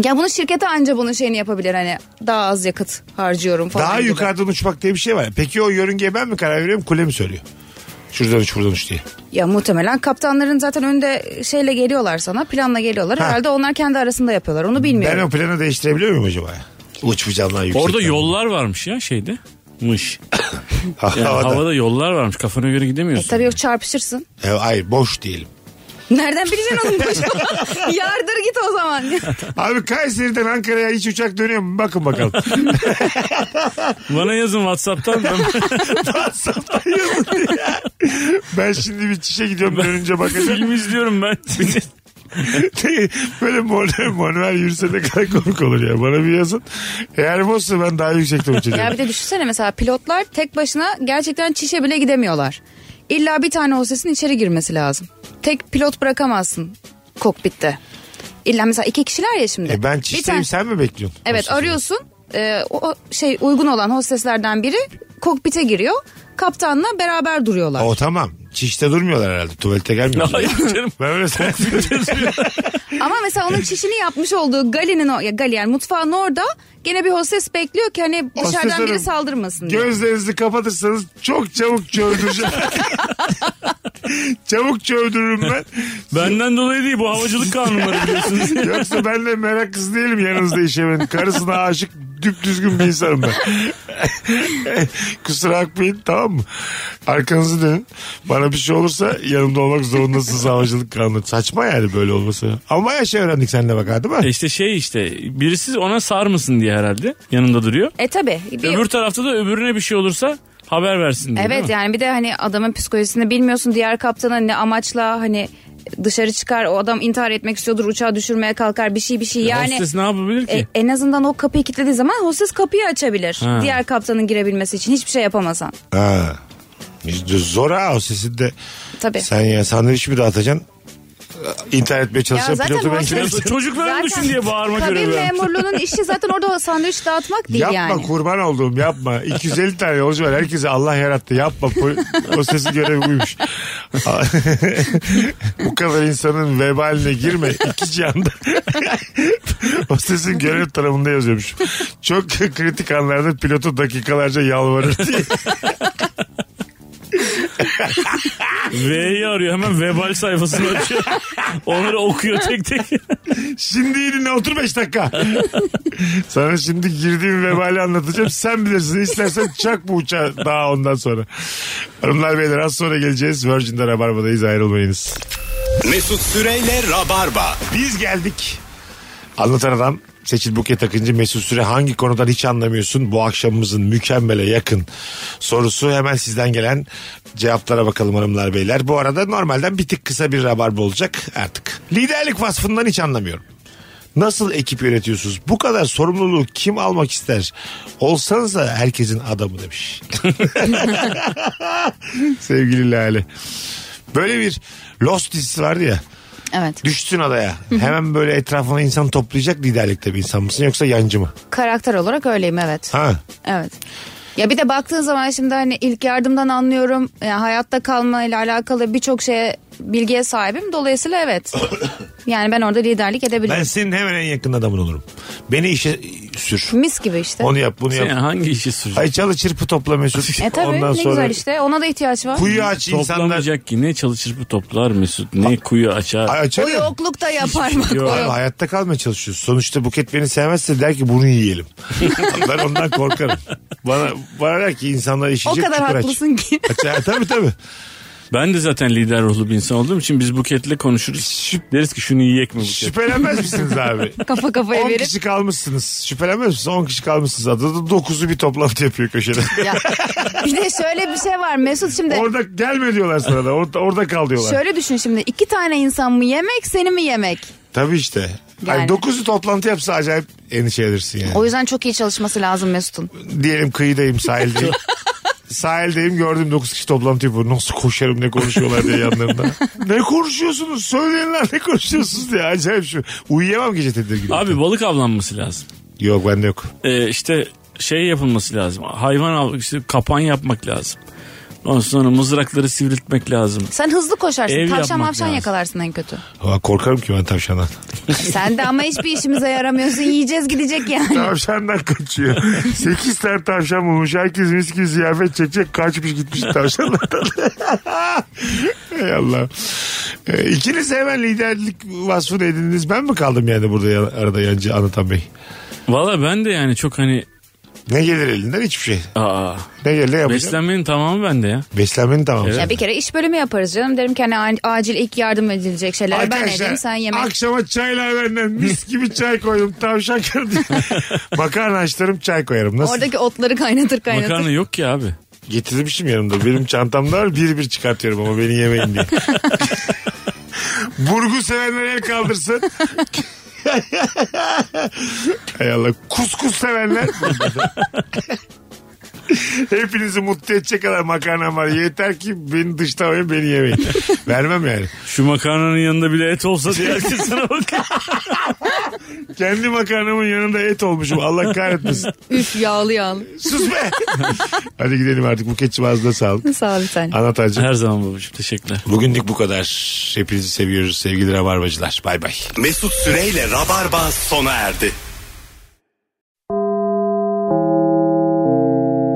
Ya bunu şirkete anca bunun şeyini yapabilir hani daha az yakıt harcıyorum falan.
Daha
gibi.
yukarıdan uçmak diye bir şey var. Peki o yörüngeye ben mi karar veriyorum kule mi söylüyor? Şuradan uç buradan uç diye.
Ya muhtemelen kaptanların zaten önde şeyle geliyorlar sana planla geliyorlar.
Ha.
Herhalde onlar kendi arasında yapıyorlar onu
Ben
bilmiyorum.
o planı değiştirebiliyor muyum acaba? Uçmayacağım lan yüksek.
Orada
ben.
yollar varmış ya şeyde. Mış.
Ha,
Yani
havada.
havada. yollar varmış. Kafana göre
E
gidemiyorsun.
tabii yok çarpışırsın.
E, hayır boş diyelim.
Nereden bileceksin oğlum boşu? Yardır git o zaman.
Abi Kayseri'den Ankara'ya hiç uçak dönüyor mu? Bakın bakalım.
Bana yazın WhatsApp'tan. Ben...
WhatsApp'tan yazın diye. Ben şimdi bir çişe gidiyorum dönünce bakacağım.
Film izliyorum ben.
Böyle manuel manuel yürüse ne kadar komik olur ya. Bana bir yazın. Eğer bozsa ben daha yüksekte uçacağım.
ya bir de düşünsene mesela pilotlar tek başına gerçekten çişe bile gidemiyorlar. İlla bir tane hostesin içeri girmesi lazım. Tek pilot bırakamazsın kokpitte. İlla mesela iki kişiler ya şimdi.
E ben
Bir
çişteyim
tane-
sen mi bekliyorsun?
Evet
Hostesi.
arıyorsun. Ee, o o şey uygun olan hosteslerden biri kokpite giriyor. Kaptanla beraber duruyorlar.
O tamam. çişte durmuyorlar herhalde. Tuvalete gelmiyorlar.
Hayır canım.
Ben öyle sanıyorum.
Ama mesela onun çişini yapmış olduğu Gali'nin o, ya Gali yani mutfağın orada gene bir hostes bekliyor ki hani dışarıdan
Hostes hanım,
biri saldırmasın diye.
Gözlerinizi kapatırsanız çok çabuk çövdüreceğim. çabuk çövdürürüm ben.
Benden dolayı değil bu havacılık kanunları biliyorsunuz.
Yoksa ben de merak kızı değilim yanınızda işemenin. Karısına aşık düzgün bir insanım ben. Kusura bakmayın tamam mı? Arkanızı dönün. Bana bir şey olursa yanımda olmak zorundasınız havacılık kanunu. Saçma yani böyle olması. Ama ya şey öğrendik seninle bak ha, değil mi?
E işte şey işte birisi ona sar mısın diye herhalde yanında duruyor.
E tabi. Bir,
Öbür tarafta da öbürüne bir şey olursa haber versin diye. değil
evet
mi?
yani bir de hani adamın psikolojisini bilmiyorsun diğer kaptana ne amaçla hani dışarı çıkar o adam intihar etmek istiyordur uçağı düşürmeye kalkar bir şey bir şey yani.
E, Hostes ne yapabilir ki?
E, en azından o kapıyı kilitlediği zaman hostes kapıyı açabilir.
Ha.
Diğer kaptanın girebilmesi için hiçbir şey yapamasan.
Ha. Zor ha o sesinde.
Tabii.
Sen ya sandviç mi dağıtacaksın? İnternet etmeye çalışan
zaten
pilotu ben
hostes-
kimim?
Biraz da çocukların düşün diye bağırma
Kabin
görevi. yaptı.
memurluğunun işi zaten orada sandviç dağıtmak değil
Yapma
yani.
kurban olduğum yapma. 250 tane yolcu var. Herkese Allah yarattı. Yapma. Po- O sesi görevi buymuş. Bu kadar insanın vebaline girme. İki canda. o sesin görev tarafında yazıyormuş. Çok kritik anlarda pilotu dakikalarca yalvarır diye.
V'yi arıyor hemen vebal sayfasını açıyor. Onları okuyor tek tek.
Şimdi yerine otur 5 dakika. Sana şimdi girdiğim vebali anlatacağım. Sen bilirsin. İstersen çak bu uçağı daha ondan sonra. Hanımlar beyler az sonra geleceğiz. Virgin'de Rabarba'dayız ayrılmayınız.
Mesut Süreyle Rabarba.
Biz geldik. Anlatan adam Seçil Buket Akıncı Mesut Süre hangi konudan hiç anlamıyorsun bu akşamımızın mükemmele yakın sorusu hemen sizden gelen cevaplara bakalım hanımlar beyler. Bu arada normalden bir tık kısa bir rabarba olacak artık. Liderlik vasfından hiç anlamıyorum. Nasıl ekip yönetiyorsunuz? Bu kadar sorumluluğu kim almak ister? Olsanız da herkesin adamı demiş. Sevgili Lale. Böyle bir Lost dizisi vardı ya.
Evet.
Düşsün adaya. Hemen böyle etrafına insan toplayacak liderlikte bir insan mısın yoksa yancı mı?
Karakter olarak öyleyim evet.
Ha.
Evet. Ya bir de baktığın zaman şimdi hani ilk yardımdan anlıyorum. Yani hayatta kalmayla alakalı birçok şeye bilgiye sahibim. Dolayısıyla evet. Yani ben orada liderlik edebilirim.
Ben senin hemen en yakın adamın olurum. Beni işe sür.
Mis gibi işte.
Onu yap bunu
Sen
yap.
hangi işi sürecek?
Ay çalı çırpı topla Mesut.
E tabii
Ondan
ne
sonra
güzel işte. Ona da ihtiyaç var.
Kuyu aç insanlar.
Toplamayacak ki ne çalışır bu toplar Mesut ne kuyu açar.
Ay
O
açar ya.
yokluk da yapar bak.
Yok.
o
Abi
yok.
hayatta kalmaya çalışıyoruz. Sonuçta Buket beni sevmezse der ki bunu yiyelim. ben ondan korkarım. Bana, bana der ki insanlar
O
işecek
kadar
çukur aç.
haklısın ki.
Aç- ha, tabii tabii.
Ben de zaten lider ruhlu bir insan olduğum için biz buketle konuşuruz. Deriz ki şunu yiyek mi buket?
Şüphelenmez misiniz abi?
Kafa
10
kafaya verip.
kişi kalmışsınız. Şüphelenmez misiniz? 10 kişi kalmışsınız. Adada 9'u bir toplantı yapıyor köşede.
Ya. Bir de şöyle bir şey var Mesut şimdi.
Orada gelme diyorlar sana da. Orada, orada kal diyorlar.
Şöyle düşün şimdi iki tane insan mı yemek seni mi yemek?
Tabii işte.
Yani.
Hani dokuzu toplantı yapsa acayip endişe edilirsin yani.
O yüzden çok iyi çalışması lazım Mesut'un.
Diyelim kıyıdayım sahildeyim. sahildeyim gördüm 9 kişi toplantı yapıyor. Nasıl koşarım ne konuşuyorlar diye yanlarında. ne konuşuyorsunuz? Söyleyin lan ne konuşuyorsunuz diye. Acayip şu. Uyuyamam gece tedirgin.
Abi balık avlanması lazım.
Yok bende yok.
Ee, işte şey yapılması lazım. Hayvan av, işte kapan yapmak lazım. Ondan sonra mızrakları sivriltmek lazım.
Sen hızlı koşarsın.
Ev
tavşan
yapmak
mavşan
lazım.
yakalarsın en kötü.
Ama korkarım ki ben tavşandan.
Sen de ama hiçbir işimize yaramıyorsun. Yiyeceğiz gidecek yani.
Tavşandan kaçıyor. 8 tane tavşan bulmuş. Herkes mis gibi ziyafet çekecek. Kaçmış gitmiş tavşanlardan. Ey Allah. Ee, ikiniz hemen liderlik vasfını edindiniz. Ben mi kaldım yani burada ya- arada yancı anlatan bey?
Valla ben de yani çok hani
Ne gelir elinden hiçbir şey.
aa,
Ne gelir ne yapacağım?
beslenmenin tamamı bende ya.
Beslenmenin tamam.
Ya bir kere iş bölümü yaparız canım. Derim ki hani a- acil ilk yardım edilecek şeyler ben edeyim sen yemek.
akşama çaylar benden mis gibi çay koydum tavşan kırdı. Makarna açtırım çay koyarım. Nasıl?
Oradaki otları kaynatır kaynatır.
Makarna yok ki abi.
Getirmişim yanımda. Benim çantamda var. Bir bir çıkartıyorum ama beni yemeyin diye. Burgu sevenler el kaldırsın. Hay Allah. Kuskus sevenler. Hepinizi mutlu edecek kadar makarnam var. Yeter ki beni dışlamayın beni yemeyin. Vermem yani.
Şu makarnanın yanında bile et olsa diye herkes sana bakar.
Kendi makarnamın yanında et olmuşum. Allah kahretmesin.
Üf yağlı yağlı.
Sus be. Hadi gidelim artık. Buketçim ağzına sağlık.
Sağ ol bir tane.
Anlatacağım.
Her zaman babacığım teşekkürler.
Bugünlük bu kadar. Hepinizi seviyoruz sevgili rabarbacılar. Bay bay.
Mesut Süreyle Rabarba sona erdi.